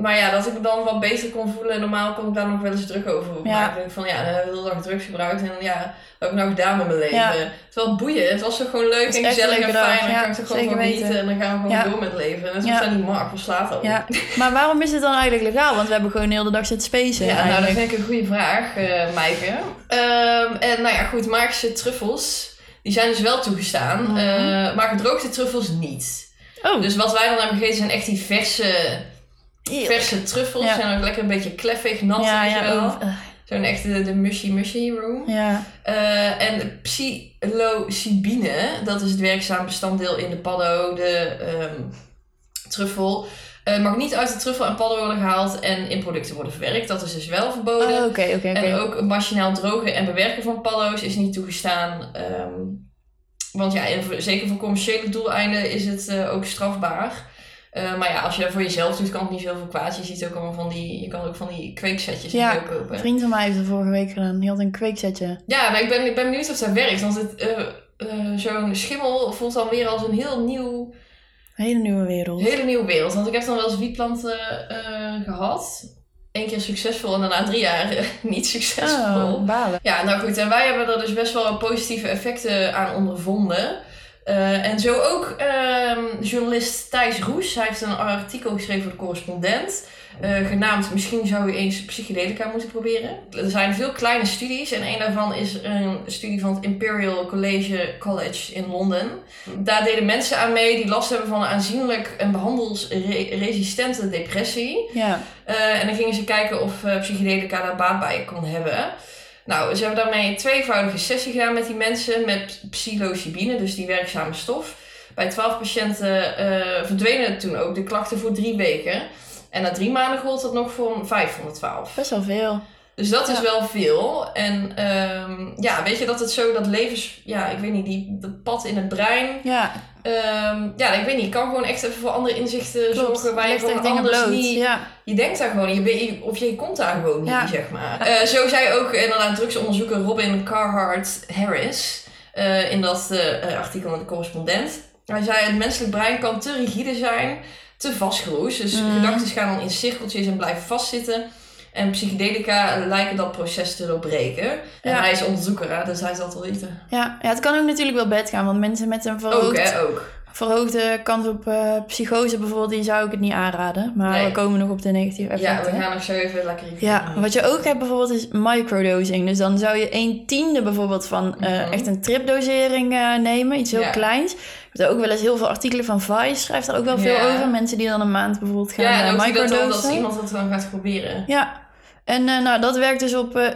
S3: maar ja, dat ik me dan wat beter kon voelen. Normaal kon ik daar nog wel eens druk over maken. Dan denk ik van ja, dan heb ik de hele dag drugs gebruikt. En ja, wat heb ik nou gedaan met mijn leven?
S1: Ja.
S3: Het is wel boeien. Het was toch gewoon leuk
S1: is
S3: en
S1: echt een
S3: gezellig en
S1: leuke dag.
S3: fijn. En dan
S1: Ja,
S3: kan ik er gewoon
S1: zeker
S3: van genieten.
S1: weten.
S3: En dan gaan we gewoon
S1: Ja.
S3: door met leven. En het
S1: Ja.
S3: was dan niet mak, wat slaat dat?
S1: Ja, maar waarom is het dan eigenlijk legaal? Want we hebben gewoon heel de dag zitten spacen.
S3: Ja, nou, dat
S1: eigenlijk.
S3: vind ik een goede vraag, eh Maaike. Ehm, en nou ja, goed, magische truffels, die zijn dus wel toegestaan.
S1: Mhm.
S3: eh, maar gedroogde truffels niet.
S1: Oh,
S3: Dus wat wij dan hebben gegeten zijn echt die verse,
S1: Eeuw.
S3: verse truffels.
S1: Ja.
S3: Zijn ook lekker een beetje kleffig, nat,
S1: ja,
S3: weet je
S1: ja,
S3: wel.
S1: oeh, eh,
S3: Zo'n echte de, de mushy mushy room.
S1: ja,
S3: Eh, en psilocybine, dat is het werkzaam bestanddeel in de paddo, de ehm, truffel. eh, mag niet uit de truffel en paddo worden gehaald en in producten worden verwerkt. Dat is dus wel
S1: Oh,
S3: verboden.
S1: oké, oké,
S3: En
S1: oké.
S3: ook het machinaal drogen en bewerken van paddo's is niet toegestaan. ehm, want ja, en voor- zeker voor commerciële doeleinden is het eh, ook strafbaar. Eh, maar ja, als je dat voor jezelf doet, kan het niet zoveel kwaad. Je ziet ook allemaal van die, je kan ook van die kweeksetjes
S1: Ja,
S3: en zo kopen.
S1: Een vriend van mij heeft dat vorige week gedaan. Die had een kweeksetje.
S3: Ja, maar ik ben, ik ben benieuwd of dat werkt. Want het, eh, eh, zo'n schimmel voelt dan weer als een heel nieuw,
S1: Een hele nieuwe wereld.
S3: hele nieuwe wereld. Want ik heb dan wel eens wietplanten eh, gehad. één keer succesvol en daarna drie jaar eh, niet succesvol.
S1: Oh, balen.
S3: Ja, nou goed. En wij hebben er dus best wel positieve effecten aan ondervonden. Eh, en zo ook ehm, journalist Thijs Roes. Hij heeft een artikel geschreven voor de correspondent. eh, genaamd Misschien zou u eens psychedelica moeten proberen. Er zijn veel kleine studies. En een daarvan is een studie van het Imperial College, College in Londen. Daar deden mensen aan mee die last hebben van een aanzienlijk en behandelsresistente depressie.
S1: Ja.
S3: Eh, en dan gingen ze kijken of eh, psychedelica daar baat bij kon hebben. Nou, ze hebben daarmee een tweevoudige sessie gedaan met die mensen met psilocybine, dus die werkzame stof. Bij twaalf patiënten eh, verdwenen toen ook de klachten voor drie weken. En na drie maanden gold dat nog voor een vijf van de twaalf.
S1: Best wel veel.
S3: Dus dat is
S1: Ja.
S3: wel veel. En ehm, ja, weet je dat het zo dat levens... Ja, ik weet niet, die, dat pad in het brein...
S1: Ja,
S3: ehm, ja, ik weet niet, kan gewoon echt even voor andere inzichten
S1: klopt.
S3: zorgen... waar je
S1: Legt echt
S3: gewoon
S1: dingen
S3: anders
S1: bloot.
S3: niet,
S1: Ja.
S3: je denkt daar gewoon, je, bent- je- of je komt daar gewoon niet,
S1: Ja.
S3: zeg maar. Eh, zo zei ook inderdaad drugsonderzoeker Robin Carhart Harris eh, in dat eh, eh, artikel in de correspondent. Hij zei: Het menselijk brein kan te rigide zijn, te vastgeroest. Dus
S1: Mm.
S3: gedachten gaan dan in cirkeltjes en blijven vastzitten. En psychedelica lijken dat proces te doorbreken. En
S1: Ja.
S3: hij is onderzoeker, hè, dus hij zal het wel weten.
S1: Ja. ja, het kan ook natuurlijk wel bed gaan. Want mensen met een verhoogd,
S3: Ook, hè, ook.
S1: verhoogde kans op eh, psychose bijvoorbeeld, die zou ik het niet aanraden. Maar
S3: Nee.
S1: we komen nog op de negatieve
S3: Ja, we
S1: effecten.
S3: gaan nog zo even lekker even
S1: Ja, wat je ook hebt bijvoorbeeld is microdosing. Dus dan zou je een tiende bijvoorbeeld van eh,
S3: Mhm.
S1: echt een tripdosering eh, nemen. Iets heel
S3: Ja.
S1: kleins. Ik heb er ook wel eens heel veel artikelen van Vice. Schrijft daar ook wel veel
S3: Ja.
S1: over. Mensen die dan een maand bijvoorbeeld gaan
S3: Ja, en
S1: eh,
S3: ook zie dat dan dat
S1: microdosen.
S3: iemand dat dan gaat proberen.
S1: Ja. En eh, nou, dat werkt dus op eh,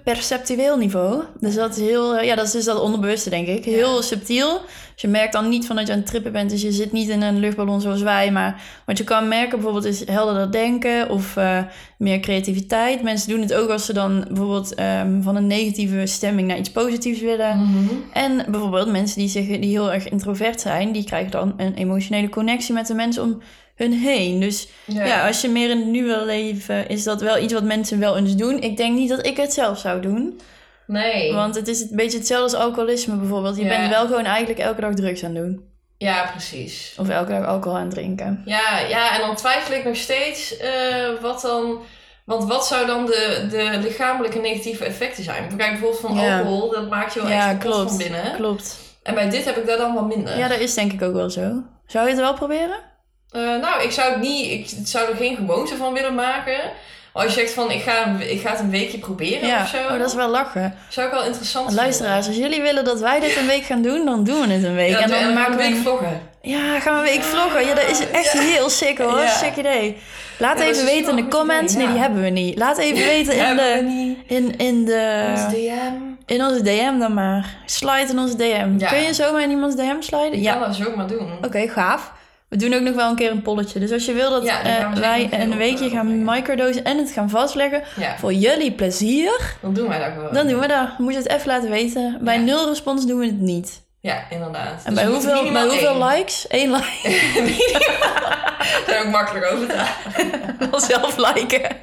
S1: subperceptueel niveau. Dus dat is heel, eh, ja, dat is dus dat onderbewuste, denk ik. Heel subtiel. Dus je merkt dan niet van dat je aan het trippen bent. Dus je zit niet in een luchtballon zoals wij. Maar wat je kan merken bijvoorbeeld is helderder denken of eh, meer creativiteit. Mensen doen het ook als ze dan bijvoorbeeld ehm, van een negatieve stemming naar iets positiefs willen.
S3: Mhm.
S1: En bijvoorbeeld mensen die, zich, die heel erg introvert zijn, die krijgen dan een emotionele connectie met de mensen om hun heen. Dus ja, als je meer in het nu wil leven, is dat wel iets wat mensen wel eens doen. Ik denk niet dat ik het zelf zou doen.
S3: Nee.
S1: Want het is een beetje hetzelfde als alcoholisme bijvoorbeeld. Je
S3: Ja.
S1: bent wel gewoon eigenlijk elke dag drugs aan het doen.
S3: Ja, precies.
S1: Of elke dag alcohol aan het drinken.
S3: Ja, ja, en dan twijfel ik nog steeds eh, wat dan. Want wat zou dan de, de lichamelijke negatieve effecten zijn? Kijk, bijvoorbeeld van
S1: Ja.
S3: alcohol, dat maakt je wel
S1: Ja,
S3: echt kapot
S1: klopt.
S3: van binnen.
S1: Klopt.
S3: En bij dit heb ik daar dan wat minder.
S1: Ja, dat is denk ik ook wel zo. Zou je het wel proberen?
S3: Eh, nou, ik zou, het niet, ik zou er geen gewoonte van willen maken. Maar als je zegt van, ik ga, een- ik ga het een weekje proberen
S1: ja.
S3: of zo.
S1: Oh, dat is wel lachen.
S3: Zou ik wel interessant vinden.
S1: Luisteraars, als jullie willen dat wij dit een week gaan doen, dan doen we het een week.
S3: Ja, en dan maak
S1: maken
S3: ik
S1: we
S3: een
S1: een-
S3: week vloggen.
S1: Ja, gaan we een week vloggen. Ja, dat is echt heel sick hoor.
S3: Ja.
S1: Sick idee. Laat
S3: Ja, dat
S1: even
S3: is
S1: weten in
S3: wel
S1: de
S3: een goed
S1: comments. Nee,
S3: idee, ja.
S1: die hebben we niet. Laat even weten in
S3: Hebben we
S1: de... Eh,
S3: niet.
S1: In, in
S3: Ons
S1: de...
S3: DM.
S1: In onze DM dan maar. Slide in onze DM.
S3: Ja.
S1: Kun je zomaar in iemands DM sliden?
S3: Ik
S1: Ja.
S3: kan dat zo maar doen.
S1: Oké, gaaf. We doen ook nog wel een keer een polletje. Dus als je wil dat
S3: Ja, dan gaan we
S1: eh,
S3: zeker
S1: wij
S3: nog even
S1: een
S3: op-
S1: weekje gaan
S3: opleggen.
S1: microdosen en het gaan vastleggen
S3: Ja,
S1: voor jullie plezier,
S3: dan doen wij dat gewoon.
S1: dan doen we dat. Moet je het even laten weten. Bij
S3: Ja.
S1: nul respons doen we het niet.
S3: Ja, inderdaad.
S1: En
S3: Dus
S1: bij
S3: het moet
S1: hoeveel, bij
S3: minimaal
S1: hoeveel
S3: één.
S1: likes? Eén like.
S3: zijn ook makkelijk over te halen.
S1: Wel zelf liken.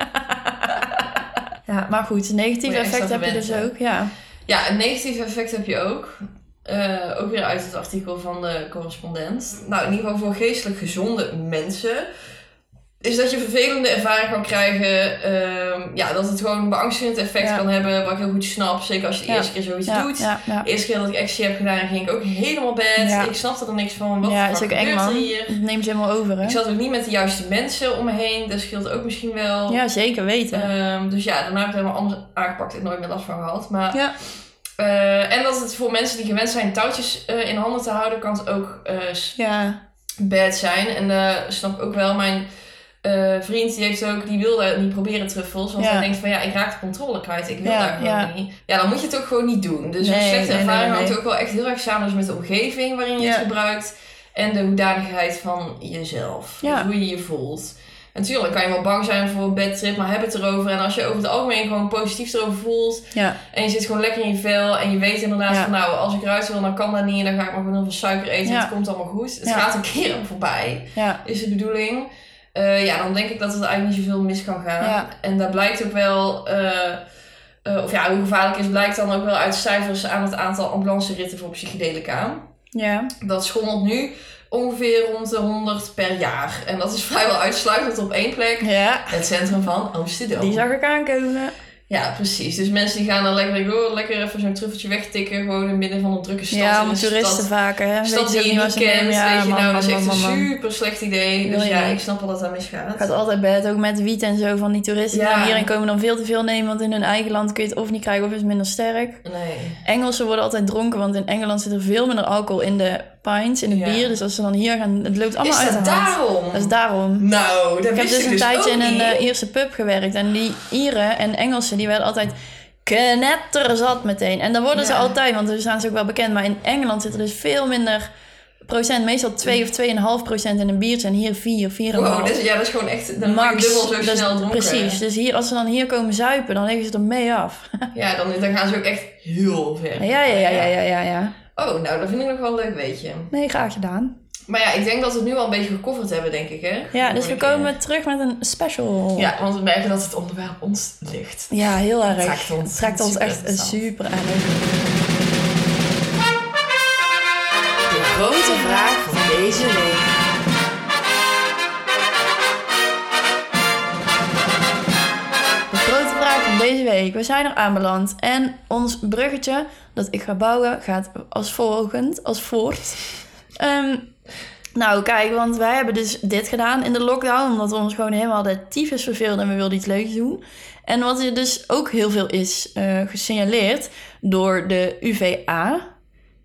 S1: ja, maar goed, negatief
S3: Moet je echt
S1: effect
S3: aan
S1: heb je dus
S3: verwennen.
S1: ook. Ja.
S3: Ja, een negatief effect heb je ook. Eh, ook weer uit het artikel van de correspondent. Nou, in ieder geval voor geestelijk gezonde mensen. Is dat je vervelende ervaring kan krijgen. ehm, ja, dat het gewoon een beangstigend effect
S1: Ja.
S3: kan hebben. Wat ik heel goed snap. Zeker als je de
S1: Ja.
S3: eerste keer zoiets
S1: Ja,
S3: doet.
S1: ja, ja.
S3: De eerste keer dat ik ecstasy heb gedaan, ging ik ook helemaal bed.
S1: Ja.
S3: Ik snapte er niks van. Wat
S1: Ja,
S3: de
S1: is ook
S3: fuck
S1: eng
S3: gebeurt er
S1: man.
S3: hier?
S1: Het neemt je helemaal over hè.
S3: Ik zat ook niet met de juiste mensen om me heen. Dat scheelt ook misschien wel.
S1: Ja, zeker weten.
S3: Ehm, dus ja, daarna heb ik het helemaal anders aangepakt en nooit meer last van gehad. Maar,
S1: Ja.
S3: Eh, en dat het voor mensen die gewend zijn touwtjes eh, in handen te houden, kan het ook eh, s-
S1: ja.
S3: bad zijn. En eh snap ik ook wel, mijn eh, vriend die, heeft ook, die wilde niet proberen truffels. Want
S1: Ja.
S3: hij denkt van ja, ik raak de controle kwijt, ik wil
S1: Ja,
S3: daar gewoon
S1: ja.
S3: niet. Ja, dan moet je het ook gewoon niet doen. Dus een
S1: Nee, nee,
S3: slechte
S1: nee,
S3: ervaring hangt
S1: nee.
S3: ook wel echt heel erg samen dus met de omgeving waarin je het
S1: Ja.
S3: gebruikt. En de hoedanigheid van jezelf.
S1: Ja.
S3: Dus hoe je je voelt. Natuurlijk kan je wel bang zijn voor een bedtrip, maar heb het erover. En als je over het algemeen gewoon positief erover voelt.
S1: Ja.
S3: En je zit gewoon lekker in je vel. En je weet inderdaad
S1: Ja.
S3: van nou, als ik eruit wil, dan kan dat niet. En dan ga ik maar gewoon heel veel suiker eten.
S1: Ja.
S3: Het komt allemaal goed. Het
S1: Ja.
S3: gaat een keer aan voorbij,
S1: Ja.
S3: is de bedoeling. Eh, ja, dan denk ik dat het eigenlijk niet zoveel mis kan gaan.
S1: Ja.
S3: En dat blijkt ook wel... eh, eh, of ja, hoe gevaarlijk het is, blijkt dan ook wel uit cijfers aan het aantal ambulanceritten voor psychedelica
S1: Ja.
S3: dat schommelt nu ongeveer rond de 100 per jaar. En dat is vrijwel uitsluitend op één plek.
S1: Ja,
S3: Het centrum van Amsterdam.
S1: die zag ik aankomen.
S3: Ja, precies. Dus mensen die gaan dan lekker, denken, oh, lekker even zo'n truffeltje wegtikken. Gewoon in het midden van een drukke stad.
S1: Ja,
S3: in
S1: om
S3: een
S1: toeristen
S3: stad,
S1: vaker. Hè?
S3: stad die
S1: ook
S3: je niet
S1: waar ze
S3: kent.
S1: komen. Ja,
S3: weet je,
S1: man,
S3: nou, dat
S1: man,
S3: is echt
S1: man,
S3: een
S1: man, man.
S3: super slecht idee.
S1: Wil
S3: Dus
S1: je
S3: ja,
S1: niet.
S3: ik snap wel dat dat misgaat.
S1: Gaat altijd bed, ook met wiet en zo van die toeristen
S3: Ja.
S1: die hierin komen dan veel te veel nemen. Want in hun eigen land kun je het of niet krijgen of is het minder sterk.
S3: Nee.
S1: Engelsen worden altijd dronken, want in Engeland zit er veel minder alcohol in de pints, in het
S3: Ja.
S1: bier. Dus als ze dan hier gaan, het loopt allemaal
S3: is
S1: uit
S3: dat
S1: de hand.
S3: daarom?
S1: Dat is daarom.
S3: Nou, dat
S1: Ik heb
S3: wist
S1: dus
S3: ik
S1: een tijdje
S3: ook
S1: in een
S3: niet.
S1: eh, Ierse pub gewerkt. En die Ieren en Engelsen, die werden altijd knetterzat meteen. En dan worden ze
S3: Ja.
S1: altijd, want daar staan ze ook wel bekend. Maar in Engeland zit er dus veel minder procent. Meestal 2 of 2,5 procent in een biertje. En hier 4, 4,5.
S3: Wow, dus, ja, dat is gewoon echt... Dan maak je
S1: Max.
S3: dubbel zo
S1: Dus
S3: snel dronken.
S1: Precies. Dus hier, als ze dan hier komen zuipen, dan liggen ze er mee af.
S3: Ja, dan, dan gaan ze ook echt heel ver.
S1: Ja, ja, ja, ja, ja, ja. ja.
S3: Oh, nou, dat vind ik nog wel een leuk, weet je.
S1: Nee, graag gedaan.
S3: Maar ja, ik denk dat we het nu al een beetje gecoverd hebben, denk ik, hè?
S1: Ja, dus we komen terug met een special.
S3: Ja, want we merken dat het onderwerp ons ligt.
S1: Ja, heel erg.
S3: Het trekt ons
S1: Het trekt ons
S3: super
S1: echt
S3: interessant.
S1: super aan.
S5: De grote vraag van deze week.
S1: De grote vraag van deze week. We zijn er aanbeland. En ons bruggetje dat ik ga bouwen gaat als volgend, als voort. Ehm, nou, kijk, want wij hebben dus dit gedaan in de lockdown. Omdat we ons gewoon helemaal de tyfus verveelden en we wilden iets leuks doen. En wat er dus ook heel veel is eh, gesignaleerd door de UVA.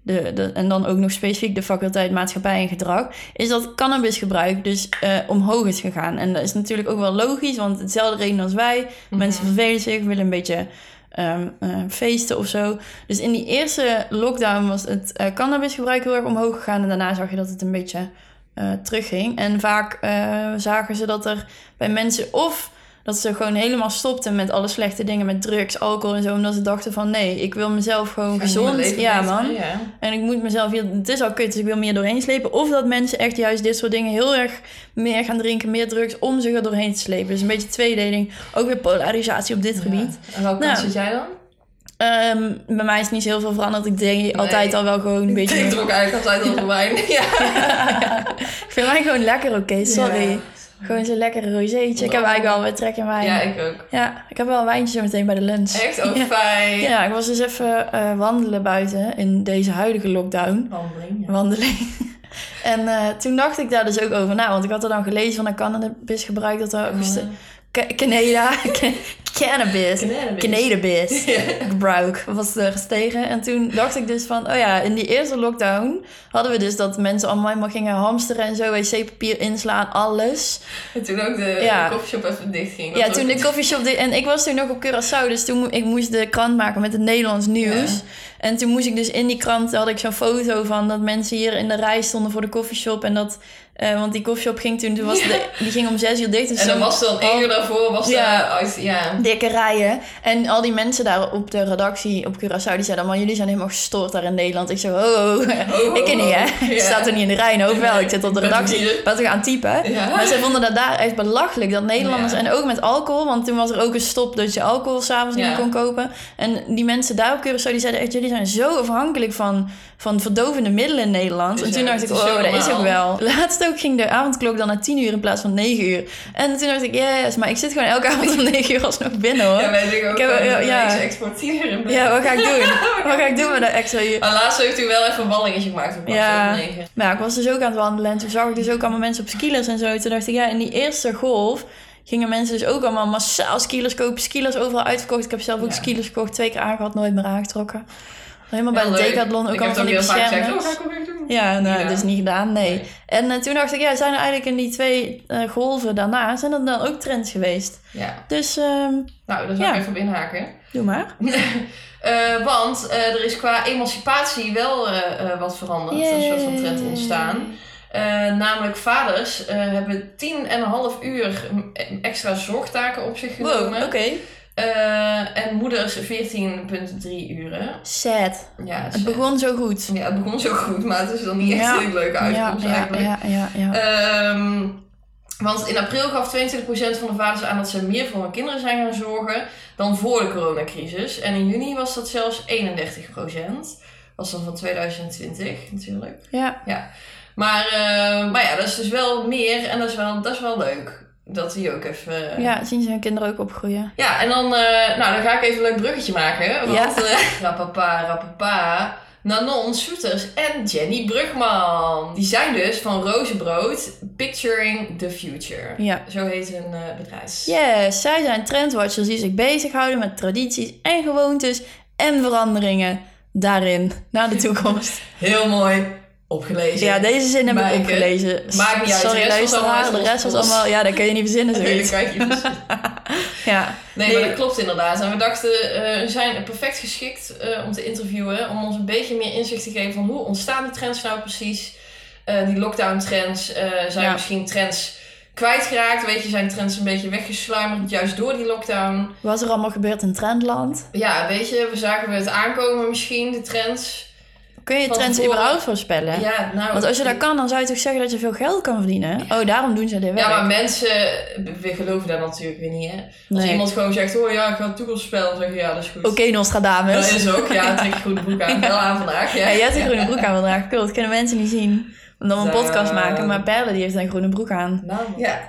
S1: De, de- en dan ook nog specifiek de faculteit maatschappij en gedrag, is dat cannabisgebruik dus eh, omhoog is gegaan. En dat is natuurlijk ook wel logisch, want hetzelfde reden als wij. Mensen vervelen zich, willen een beetje ehm, eh, feesten of zo. Dus in die eerste lockdown was het eh, cannabisgebruik heel erg omhoog gegaan. En daarna zag je dat het een beetje eh, terugging. En vaak eh, zagen ze dat er bij mensen of dat ze gewoon helemaal stopten met alle slechte dingen, met drugs, alcohol en zo. Omdat ze dachten van nee, ik wil mezelf gewoon gezond. Ja man.
S3: Oh, Ja.
S1: En ik moet mezelf hier, het is al kut, dus ik wil meer doorheen slepen. Of dat mensen echt juist dit soort dingen heel erg meer gaan drinken, meer drugs, om zich er doorheen te slepen. Dus een beetje tweedeling. Ook weer polarisatie op dit gebied.
S3: En welke
S1: Nou.
S3: kant zit jij dan?
S1: Ehm, bij mij is niet zo heel veel veranderd. Ik denk altijd al wel gewoon een beetje.
S3: Ik dronk eigenlijk altijd al de wijn. Ja.
S1: Ik vind mij gewoon lekker, oké, sorry.
S3: Ja.
S1: Gewoon zo'n lekker roséetje. Ik heb eigenlijk al weer trek in wijn.
S3: ja, ik ook.
S1: Ja, ik heb wel een wijntje zo meteen bij de lunch.
S3: Echt Oh, ook
S1: Ja.
S3: fijn.
S1: Ja, ik was dus even eh, wandelen buiten in deze huidige lockdown.
S3: Wandeling, ja.
S1: wandeling. En eh, toen dacht ik daar dus ook over na, want ik had er dan gelezen van een cannabisgebruik dat er
S3: Oh,
S1: geste- Ca- Canada, Ca- cannabis,
S3: Cannabis.
S1: cannabis
S3: Ja.
S1: gebruik was er gestegen. En toen dacht ik dus van, oh ja, in die eerste lockdown hadden we dus dat mensen allemaal helemaal gingen hamsteren en zo, wc-papier inslaan, alles.
S3: En toen ook de,
S1: Ja.
S3: de koffieshop even dicht ging.
S1: Ja, toen de koffieshop... deed- En ik was toen nog op Curaçao, dus toen mo- ik moest de krant maken met het Nederlands nieuws.
S3: Ja.
S1: En toen moest ik dus in die krant, had ik zo'n foto van dat mensen hier in de rij stonden voor de koffieshop. En dat, eh, want die koffieshop ging toen, toen was
S3: Ja.
S1: de, die ging om zes uur dicht. Dus
S3: En dan
S1: zo'n
S3: was dan één uur daarvoor, was
S1: Ja.
S3: daar uit, ja.
S1: Dikke rijen. En al die mensen daar op de redactie op Curaçao, die zeiden allemaal, jullie zijn helemaal gestoord daar in Nederland. Ik zo, ho, ho,
S3: ho,
S1: ik ken niet, hè.
S3: ho.
S1: Ik
S3: Oh, Ja.
S1: sta er niet in de rij, nou wel. Ik zit op de
S3: Ik ben
S1: redactie,
S3: hier.
S1: wat we gaan typen.
S3: Ja.
S1: Maar ze vonden dat daar echt belachelijk. Dat Nederlanders,
S3: Ja.
S1: en ook met alcohol. Want toen was er ook een stop dat je alcohol s'avonds niet
S3: Ja.
S1: meer kon kopen. En die mensen daar op Curaçao, die zeiden echt... Jullie zijn zo afhankelijk van, van verdovende middelen in Nederland.
S3: Dus
S1: en toen
S3: ja,
S1: dacht ik,
S3: het
S1: oh,
S3: is zo
S1: dat is ook wel.
S3: normaal.
S1: Laatst ook ging de avondklok dan naar 10 uur in plaats van 9 uur. En toen dacht ik, yes, maar ik zit gewoon elke avond om 9 uur alsnog binnen, hoor.
S3: Ja,
S1: Ja,
S3: wij denken ook
S1: Ik heb-
S3: gewoon,
S1: ja,
S3: dat
S1: ja.
S3: wij ze exporteren.
S1: wat ga ik doen? Wat ga ik doen met dat extra uur?
S3: Maar laatst heeft u wel even een wallingetje gemaakt op
S1: Ja.
S3: ja. 9.
S1: Maar ja, ik was dus ook aan het wandelen en toen zag ik dus ook allemaal mensen op skilers en zo. Toen dacht ik, ja, in die eerste golf gingen mensen dus ook allemaal massaal skilers kopen. Skilers overal uitverkocht. Ik heb zelf ook
S3: Ja.
S1: skilers gekocht, twee keer aangehad, nooit meer aangetrokken. Helemaal bij
S3: Heel
S1: de
S3: leuk.
S1: Decathlon, ook
S3: Ik heb
S1: allemaal
S3: het
S1: van
S3: ook
S1: die
S3: heel vaak gezegd,
S1: beschermers.
S3: oh, ga ik ook weer doen.
S1: Ja, nou,
S3: Ja.
S1: dus niet gedaan, nee.
S3: Nee.
S1: En eh, toen dacht ik, ja, zijn er eigenlijk in die twee eh, golven daarna, zijn er dan ook trends geweest?
S3: Ja,
S1: Dus, ehm,
S3: nou, daar zou ik
S1: Ja.
S3: even op inhaken.
S1: doe maar.
S3: Eh, want eh, er is qua emancipatie wel eh, eh, wat veranderd. Er is een soort van trend
S1: Yay.
S3: ontstaan. Eh, namelijk vaders eh, hebben 10,5 uur m- extra zorgtaken op zich genomen.
S1: Wow, oké.
S3: Eh, en moeders 14,3 uren.
S1: Sad.
S3: Ja, het, is-
S1: Het begon zo goed.
S3: ja, het begon zo goed, maar het is dan niet echt
S1: Ja.
S3: een leuke
S1: Ja,
S3: uitkomst
S1: ja,
S3: eigenlijk. Eh,
S1: ja, ja, ja.
S3: Ehm, want in april gaf 22% van de vaders aan dat ze meer voor hun kinderen zijn gaan zorgen dan voor de coronacrisis. En in juni was dat zelfs 31%. Was dan van 2020 natuurlijk.
S1: Ja,
S3: Maar, eh, maar ja, dat is dus wel meer en dat is wel, dat is wel leuk. Dat die ook even... eh,
S1: Ja, zien ze hun kinderen ook opgroeien.
S3: Ja, en dan, eh, nou, dan ga ik even een leuk bruggetje maken.
S1: Ja.
S3: Want eh, Rapapa, Rapapa, Nanon Soeters en Jenny Brugman. Die zijn dus van Rozenbrood Picturing the Future.
S1: Ja.
S3: Zo heet hun eh, bedrijf.
S1: Yes, zij zijn trendwatchers die zich bezighouden met tradities en gewoontes en veranderingen daarin naar de toekomst.
S3: Heel mooi opgelezen.
S1: Ja, deze zin heb
S3: Maaike,
S1: ik opgelezen.
S3: maakt niet uit,
S1: Sorry,
S3: de rest was allemaal
S1: luisteraar.
S3: uit
S1: De rest was
S3: ons-
S1: allemaal... Ja, dat kun je niet verzinnen,
S3: Nee,
S1: zoiets.
S3: dat kan ik niet verzinnen.
S1: Ja.
S3: Nee,
S1: Nee.
S3: maar dat klopt inderdaad. En we dachten, eh, we zijn perfect geschikt eh, om te interviewen. Om ons een beetje meer inzicht te geven van hoe ontstaan die trends nou precies. Eh, die lockdown trends. eh, zijn
S1: Ja.
S3: misschien trends kwijtgeraakt? Weet je, zijn trends een beetje weggesluimerd juist door die lockdown?
S1: Wat is er allemaal gebeurd in trendland?
S3: Ja, weet je, we zagen we het aankomen misschien, de trends.
S1: Kun je
S3: Van
S1: trends
S3: tevoren.
S1: überhaupt voorspellen?
S3: Ja, nou...
S1: Want als je dat kan, dan zou je toch zeggen dat je veel geld kan verdienen? Oh, daarom doen ze dit werk.
S3: Ja, maar mensen, we geloven daar natuurlijk weer niet, hè. Als
S1: Nee.
S3: iemand gewoon zegt, oh ja, ik ga de toekomst spellen, dan zeg je, ja, dat is goed.
S1: Oké, Nostradamus.
S3: Dat is ook, ja, trek je groene broek aan. Wel aan vandaag, ja.
S1: Ja, jij hebt een groene broek aan vandaag. Cool, dat kunnen mensen niet zien. Omdat we een
S3: Zo.
S1: podcast maken. Maar Perle die heeft een groene broek aan.
S3: Nou, ja.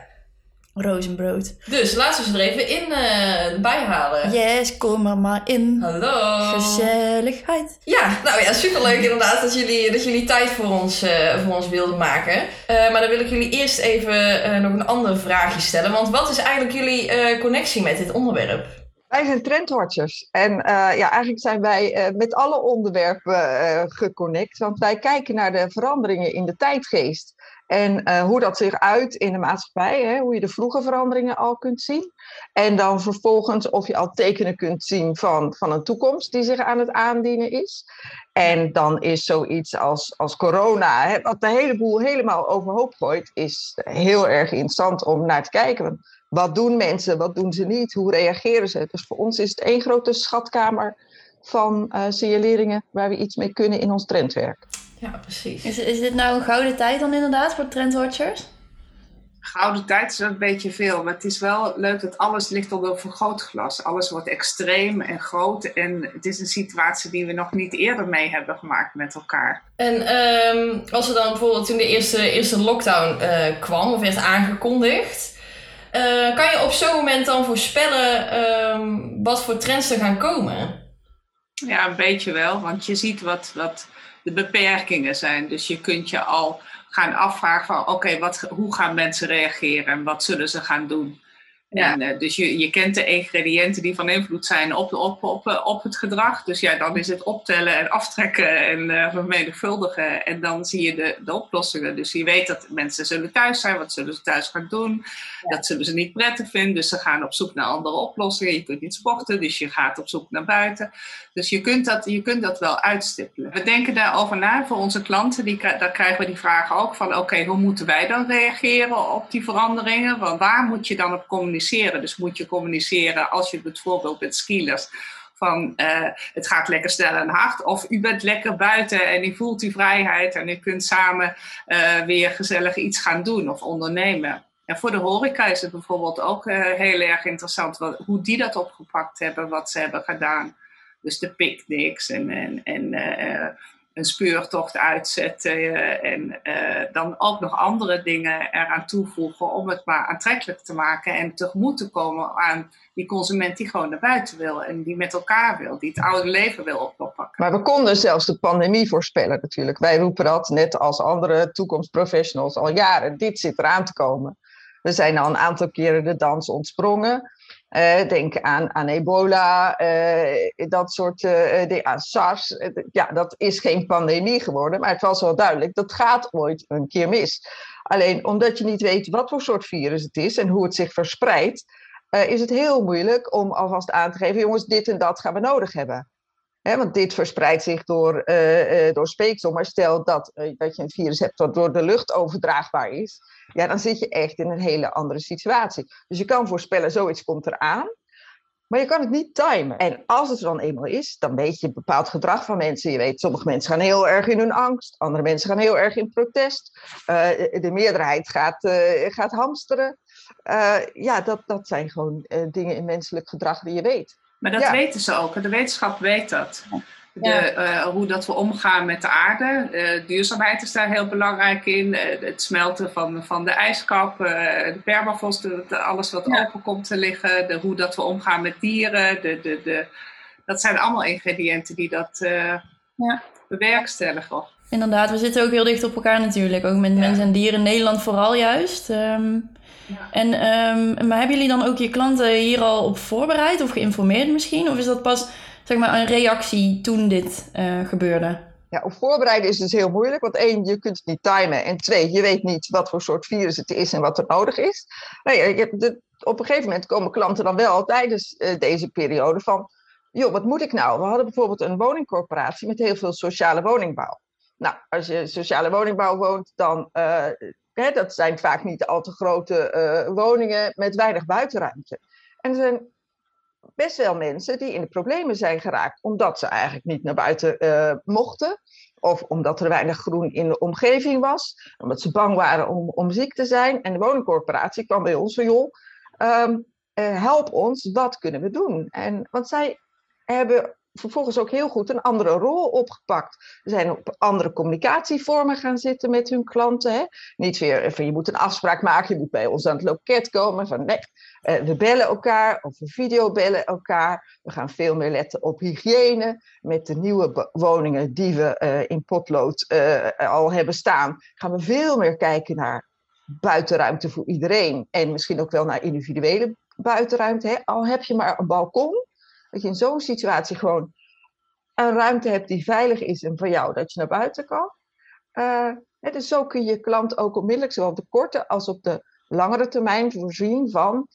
S1: Rozenbrood.
S3: Dus laten we ze er even in eh, bijhalen.
S1: Yes, kom er maar in.
S3: Hallo.
S1: Gezelligheid.
S3: Ja, nou ja, superleuk inderdaad dat jullie, dat jullie tijd voor ons, eh, voor ons wilden maken. Eh, maar dan wil ik jullie eerst even eh, nog een ander vraagje stellen. Want wat is eigenlijk jullie eh, connectie met dit onderwerp?
S6: Wij zijn trendwatchers. En eh, ja, eigenlijk zijn wij eh, met alle onderwerpen eh, geconnect. Want wij kijken naar de veranderingen in de tijdgeest. En eh, hoe dat zich uit in de maatschappij. Hè, hoe je de vroege veranderingen al kunt zien. En dan vervolgens of je al tekenen kunt zien van, van een toekomst die zich aan het aandienen is. En dan is zoiets als, als corona, hè, wat de hele boel helemaal overhoop gooit, is heel erg interessant om naar te kijken. Want wat doen mensen, wat doen ze niet, hoe reageren ze. Dus voor ons is het één grote schatkamer van eh, signaleringen waar we iets mee kunnen in ons trendwerk.
S3: Ja, precies.
S1: Is, is dit nou een gouden tijd dan inderdaad voor trendwatchers?
S7: Gouden tijd is wel een beetje veel, maar het is wel leuk dat alles ligt onder een vergrootglas. Alles wordt extreem en groot en het is een situatie die we nog niet eerder mee hebben gemaakt met elkaar.
S3: En ehm, als er dan bijvoorbeeld toen de eerste, eerste lockdown eh, kwam of werd aangekondigd, eh, kan je op zo'n moment dan voorspellen ehm, wat voor trends er gaan komen?
S7: Ja, een beetje wel, want je ziet wat, wat de beperkingen zijn. Dus je kunt je al gaan afvragen van oké, wat- hoe gaan mensen reageren en wat zullen ze gaan doen?
S3: Ja.
S7: En, eh, dus je, je kent de ingrediënten die van invloed zijn op, op, op, eh, op het gedrag. Dus ja, dan is het optellen en aftrekken en eh, vermenigvuldigen. En dan zie je de, de oplossingen. Dus je weet dat mensen zullen thuis zijn. Wat zullen ze thuis gaan doen? Dat zullen ze niet prettig vinden. Dus ze gaan op zoek naar andere oplossingen. Je kunt niet sporten, dus je gaat op zoek naar buiten. Dus je kunt dat, je kunt dat wel uitstippelen. We denken daarover na voor onze klanten. Die, kri- daar krijgen we die vragen ook van: oké, hoe moeten wij dan reageren op die veranderingen? Want waar moet je dan op communiceren? Dus moet je communiceren als je bijvoorbeeld met skiers. Van eh, het gaat lekker snel en hard. Of u bent lekker buiten en u voelt die vrijheid. En u kunt samen eh, weer gezellig iets gaan doen of ondernemen. En voor de horeca is het bijvoorbeeld ook eh, heel erg interessant. Wat, hoe die dat opgepakt hebben, wat ze hebben gedaan. Dus de picknicks en, en, en eh, eh, een speurtocht uitzetten. eh, en eh, dan ook nog andere dingen eraan toevoegen om het maar aantrekkelijk te maken. En tegemoet te komen aan die consument die gewoon naar buiten wil. En die met elkaar wil, die het oude leven wil op- oppakken.
S6: Maar we konden zelfs de pandemie voorspellen natuurlijk. Wij roepen dat, net als andere toekomstprofessionals, al jaren. Dit zit eraan te komen. We zijn al een aantal keren de dans ontsprongen. Eh, denk aan, aan ebola, eh, dat soort eh dingen, aan SARS. Eh, d- Ja, dat is geen pandemie geworden, maar het was wel duidelijk, dat gaat ooit een keer mis. Alleen omdat je niet weet wat voor soort virus het is en hoe het zich verspreidt, eh, is het heel moeilijk om alvast aan te geven, jongens, dit en dat gaan we nodig hebben. Hè, want dit verspreidt zich door, eh, eh, door speeksel. Maar stel dat, eh, dat je een virus hebt dat door de lucht overdraagbaar is, ja, dan zit je echt in een hele andere situatie. Dus je kan voorspellen, zoiets komt eraan. Maar je kan het niet timen. En als het er dan eenmaal is, dan weet je een bepaald gedrag van mensen. Je weet, sommige mensen gaan heel erg in hun angst. Andere mensen gaan heel erg in protest. eh, de meerderheid gaat, eh, gaat hamsteren. Eh, ja, dat, dat zijn gewoon eh, dingen in menselijk gedrag die je weet.
S7: Maar dat
S6: Ja.
S7: weten ze ook. en De wetenschap weet dat. De, eh, hoe dat we omgaan met de aarde. Eh, duurzaamheid is daar heel belangrijk in. Eh, het smelten van, van de ijskap, eh, de permafrost, de- de- alles wat open komt te liggen. De, hoe dat we omgaan met dieren. De, de, de, dat zijn allemaal ingrediënten die dat eh
S8: Ja.
S7: bewerkstelligen.
S1: Inderdaad, we zitten ook heel dicht op elkaar natuurlijk. Ook met mensen en dieren in Nederland vooral juist. Ehm, en, ehm, maar hebben jullie dan ook je klanten hier al op voorbereid of geïnformeerd misschien? Of is dat pas zeg maar, een reactie toen dit eh, gebeurde?
S6: Ja, op voorbereiden is dus heel moeilijk. Want één, je kunt het niet timen. En twee, je weet niet wat voor soort virus het is en wat er nodig is. Nou ja, je hebt de- op een gegeven moment komen klanten dan wel tijdens eh, deze periode van... joh, wat moet ik nou? We hadden bijvoorbeeld een woningcorporatie met heel veel sociale woningbouw. Nou, als je sociale woningbouw woont, dan... eh, hè, dat zijn vaak niet al te grote eh, woningen met weinig buitenruimte. En er zijn best wel mensen die in de problemen zijn geraakt. Omdat ze eigenlijk niet naar buiten eh, mochten. Of omdat er weinig groen in de omgeving was. Omdat ze bang waren om, om ziek te zijn. En de woningcorporatie kwam bij ons van joh, ehm, eh, help ons, wat kunnen we doen? En, want zij hebben vervolgens ook heel goed een andere rol opgepakt. Ze zijn op andere communicatievormen gaan zitten met hun klanten. Hè? Niet weer van je moet een afspraak maken, je moet bij ons aan het loket komen. Van nee, eh, we bellen elkaar of we videobellen elkaar. We gaan veel meer letten op hygiëne. Met de nieuwe be- woningen die we eh, in potlood eh, al hebben staan, gaan we veel meer kijken naar buitenruimte voor iedereen. En misschien ook wel naar individuele buitenruimte. Hè? Al heb je maar een balkon, dat je in zo'n situatie gewoon een ruimte hebt die veilig is en voor jou dat je naar buiten kan. Eh, hè, dus zo kun je klant ook onmiddellijk, zowel op de korte als op de langere termijn, voorzien van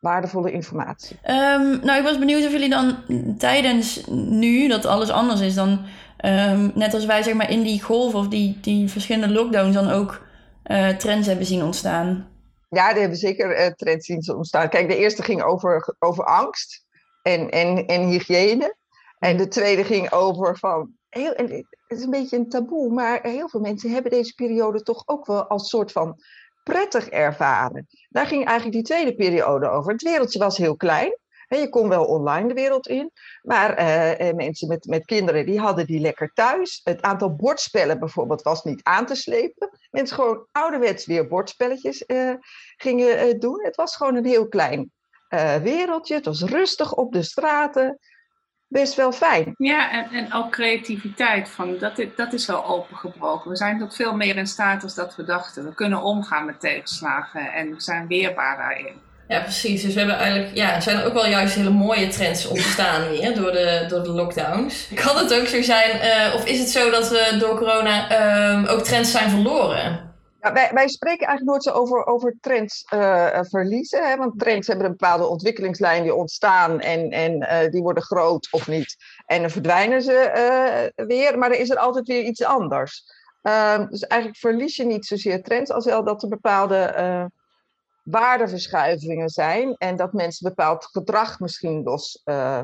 S6: waardevolle informatie.
S1: Ehm, nou, ik was benieuwd of jullie dan tijdens nu, dat alles anders is dan... ehm, net als wij zeg maar in die golf of die, die verschillende lockdowns dan ook eh, trends hebben zien ontstaan.
S6: Ja, daar hebben zeker eh, trends zien ze ontstaan. Kijk, de eerste ging over, over angst en, en, en hygiëne. En de tweede ging over van. Heel, en het is een beetje een taboe, maar heel veel mensen hebben deze periode toch ook wel als soort van prettig ervaren. Daar ging eigenlijk die tweede periode over. Het wereldje was heel klein. hè, Je kon wel online de wereld in, maar eh, eh, mensen met, met kinderen die hadden die lekker thuis. Het aantal bordspellen bijvoorbeeld was niet aan te slepen. Mensen gewoon ouderwets weer bordspelletjes eh, gingen eh, doen. Het was gewoon een heel klein eh, wereldje. Het was rustig op de straten. Best wel fijn.
S7: Ja, en, en ook creativiteit. Van, dat, i- dat is wel opengebroken. We zijn tot veel meer in staat als dat we dachten. We kunnen omgaan met tegenslagen en we zijn weerbaar daarin.
S3: Ja, precies. Dus we hebben eigenlijk, ja, er zijn ook wel juist hele mooie trends ontstaan weer door de, door de lockdowns. Kan het ook zo zijn, eh, of is het zo dat we door corona ehm, ook trends zijn verloren?
S6: Ja, wij, wij spreken eigenlijk nooit zo over, over trends eh, eh, verliezen. Hè? Want trends hebben een bepaalde ontwikkelingslijn die ontstaan en, en eh, die worden groot of niet. En dan verdwijnen ze eh, weer, maar er is er altijd weer iets anders. Ehm, dus eigenlijk verlies je niet zozeer trends, als wel dat er bepaalde eh, waardeverschuivingen zijn. En dat mensen bepaald gedrag misschien los eh,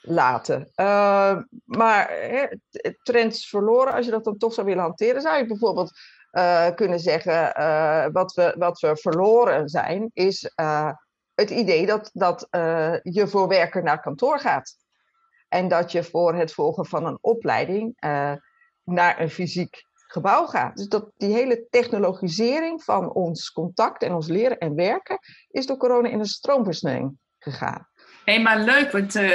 S6: laten. Eh, maar hè, t- trends verloren, als je dat dan toch zou willen hanteren, zou je bijvoorbeeld eh, kunnen zeggen, eh, wat, we, wat we verloren zijn, is eh, het idee dat, dat eh, je voor werken naar kantoor gaat. En dat je voor het volgen van een opleiding eh, naar een fysiek gebouw gaat. Dus dat die hele technologisering van ons contact en ons leren en werken is door corona in een stroomversnelling gegaan.
S7: Hé, maar leuk, want eh,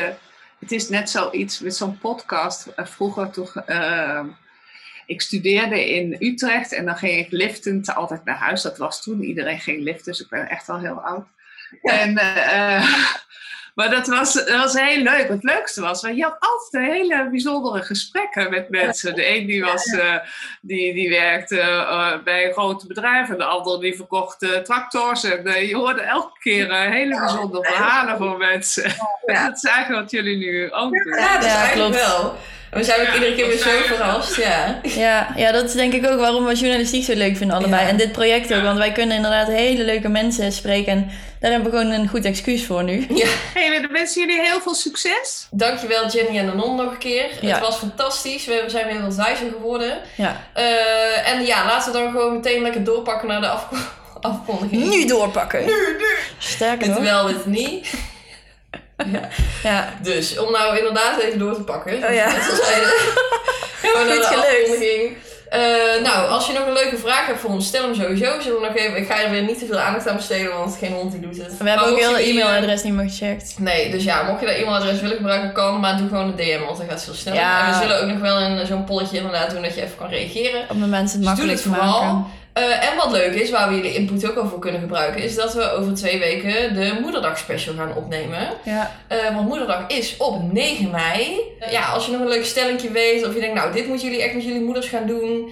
S7: het is net zoiets met zo'n podcast. Eh, vroeger toch. eh, ik studeerde in Utrecht en dan ging ik liftend altijd naar huis. Dat was toen, iedereen ging liften, dus ik ben echt al heel oud. En, eh, eh, maar dat was, dat was heel leuk. Het leukste was, want je had altijd hele bijzondere gesprekken met mensen. De een die, was, eh, die, die werkte eh, bij een groot bedrijf en de ander die verkocht eh, tractors. En, eh, je hoorde elke keer eh, hele bijzondere verhalen van mensen. Dat is eigenlijk wat jullie nu ook doen.
S3: Ja, dat is
S1: Ja,
S3: eigenlijk
S1: klopt.
S3: wel. En we zijn ook
S7: Ja,
S3: iedere keer weer
S7: dat
S3: zo
S7: zijn we.
S3: verrast, ja.
S1: Ja, ja, dat is denk ik ook waarom we journalistiek zo leuk vinden allebei.
S3: Ja.
S1: En dit project ook,
S7: Ja.
S1: want wij kunnen inderdaad hele leuke mensen spreken. En daar hebben we gewoon een goed excuus voor nu.
S7: Hey, we wensen jullie heel veel succes.
S3: Dankjewel Jenny en Anon nog een keer.
S1: Ja.
S3: Het was fantastisch. We zijn weer wat wijzer geworden.
S1: Ja.
S3: Eh, en ja, laten we dan gewoon meteen lekker doorpakken naar de afko- afkondiging.
S1: Nu doorpakken. Sterker
S3: Dit
S1: nog.
S3: wel, dit niet.
S1: Ja.
S3: Dus om nou inderdaad even door te pakken.
S1: Oh ja.
S3: Net als jij de- Gaan we naar
S1: Goed
S3: de
S1: gelukt.
S3: afkondiging. nou, Eh, nou, als je nog een leuke vraag hebt voor ons, stel hem sowieso. Zullen we nog even, ik ga er weer niet te veel aandacht aan besteden, want geen hond die doet het.
S1: We hebben ook heel
S3: de
S1: de
S3: eh,
S1: e-mailadres niet meer gecheckt.
S3: Nee, dus ja, mocht je dat e-mailadres willen gebruiken, kan. Maar doe gewoon een DM, want dat gaat veel sneller.
S1: Ja.
S3: En we zullen ook nog wel een- zo'n polletje inderdaad doen dat je even kan reageren.
S1: Om de mensen het
S3: Dus doe
S1: makkelijk
S3: dit
S1: te maken.
S3: vooral. Eh, en wat leuk is, waar we jullie input ook al voor kunnen gebruiken, is dat we over twee weken de Moederdag Special gaan opnemen.
S1: Ja.
S3: Eh, want Moederdag is op 9 mei. Eh, ja, als je nog een leuk stellingje weet, of je denkt, nou, dit moeten jullie echt met jullie moeders gaan doen.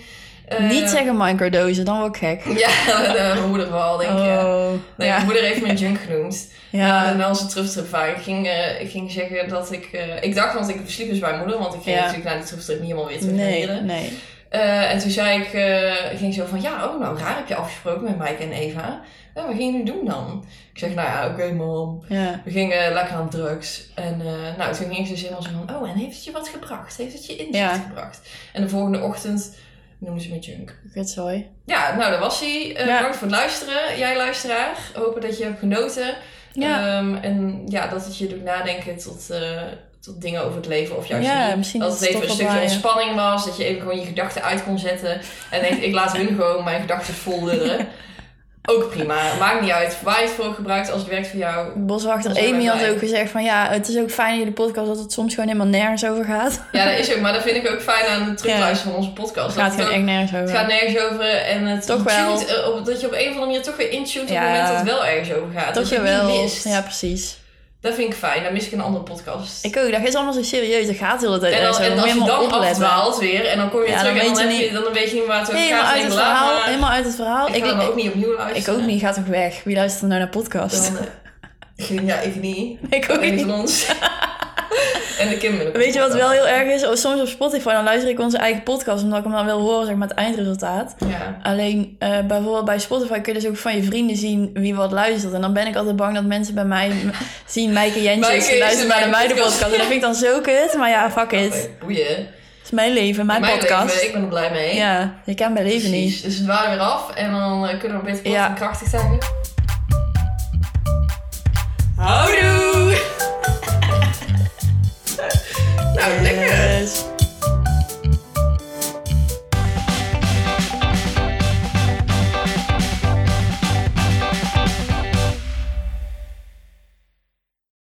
S3: Eh,
S1: Niet zeggen microdosen, dan word ik gek.
S3: Ja, eh, mijn moeder vooral, denk ik. ja.
S1: Oh.
S3: Nee,
S1: ja.
S3: mijn moeder heeft me een junk genoemd.
S1: Ja.
S3: Eh, na onze truftrip vaak. Ik ging, eh, ik ging zeggen dat ik... eh, ik dacht, want ik sliep dus bij mijn moeder. Want ik ging
S1: Ja.
S3: natuurlijk na die truftrip niet helemaal weer terug naar
S1: Nee,
S3: Dieren.
S1: nee.
S3: Eh, en toen zei ik, eh, ik ging zo van, ja, oh, nou raar heb je afgesproken met Mike en Eva. Ja, wat ging je nu doen dan? Ik zeg, nou ja, oké mom.
S1: Ja.
S3: We gingen lekker aan drugs. En eh, nou, toen ging ze zin als van, oh, en heeft het je wat gebracht? Heeft het je inzicht
S1: Ja.
S3: gebracht? En de volgende ochtend noemden ze me junk.
S1: Kutzooi.
S3: Ja, nou, dat was hij. Eh,
S1: Ja.
S3: Bedankt voor het luisteren. Jij luisteraar. Hopen dat je hebt genoten.
S1: Ja.
S3: Ehm, en ja, dat het je doet nadenken tot, eh, tot dingen over het leven. Of juist
S1: Ja,
S3: niet.
S1: misschien
S3: dat
S1: is
S3: het
S1: het
S3: even een
S1: toch
S3: stukje
S1: wel waar, ja.
S3: ontspanning was. Dat je even gewoon je gedachten uit kon zetten. En denkt, ik laat hun gewoon mijn gedachten volderen. Ook prima. Maakt niet uit waar je het voor gebruikt. Als het werkt voor jou,
S1: Boswachter
S3: Daar zijn we
S1: Amy had
S3: bij.
S1: ook gezegd van ja, het is ook fijn in jullie podcast dat het soms gewoon helemaal nergens over gaat.
S3: Ja, dat is ook. Maar dat vind ik ook fijn aan het terugluisteren van onze podcast.
S1: Het gaat
S3: dat het,
S1: gewoon
S3: ook-
S1: echt nergens
S3: het
S1: over.
S3: gaat nergens over en het
S1: Toch wel.
S3: tuned, eh, op, dat je op een of andere manier toch weer intuned
S1: Ja.
S3: op het moment dat het wel ergens over gaat.
S1: Toch
S3: dat je het
S1: wel.
S3: niet mist.
S1: Ja, precies.
S3: Dat vind ik fijn. Dan mis ik een andere podcast.
S1: Ik ook, dat is allemaal zo serieus. Dat gaat de hele tijd
S3: en, dan,
S1: ergens over.
S3: en als je
S1: Moet
S3: dan
S1: helemaal opletten.
S3: afdwaalt weer en dan kom je
S1: Ja,
S3: terug
S1: dan
S3: en
S1: weet
S3: dan,
S1: je
S3: heb je,
S1: niet-
S3: dan weet je niet waar het over
S1: Helemaal
S3: gaat.
S1: uit
S3: en
S1: het
S3: ik laat
S1: verhaal.
S3: maar.
S1: Helemaal uit het verhaal.
S3: Ik
S1: Ik,
S3: ga dan ook
S1: ik,
S3: niet opnieuw
S1: ik
S3: luisteren.
S1: ook niet. Gaat toch weg? Wie luistert er nou naar podcast?
S3: Dan, eh, ik- ja, ik niet.
S1: ik ook
S3: En niet
S1: niet.
S3: van ons. en de kinderen.
S1: Weet je wat wel heel erg is? Oh, soms op Spotify dan luister ik onze eigen podcast omdat ik hem dan wil horen, zeg maar, het eindresultaat.
S3: Ja.
S1: Alleen eh, bijvoorbeeld bij Spotify kun je dus ook van je vrienden zien wie wat luistert. En dan ben ik altijd bang dat mensen bij mij m- zien Maaike
S3: Maaike is
S1: Jentjes luisteren
S3: in
S1: naar de
S3: mijn podcast.
S1: meidenpodcast. En dat vind ik dan zo kut. Maar ja, fuck it. Het
S3: Boeien.
S1: is mijn leven, mijn,
S3: Mijn
S1: podcast.
S3: leven, ik ben er blij mee.
S1: Ja, je kan mijn leven niet.
S3: Precies. Dus we waren weer af en dan eh, kunnen we een beetje
S1: Ja.
S3: ja. krachtig zijn.
S1: Houdoe!
S3: Nou, lekker!
S1: Dus-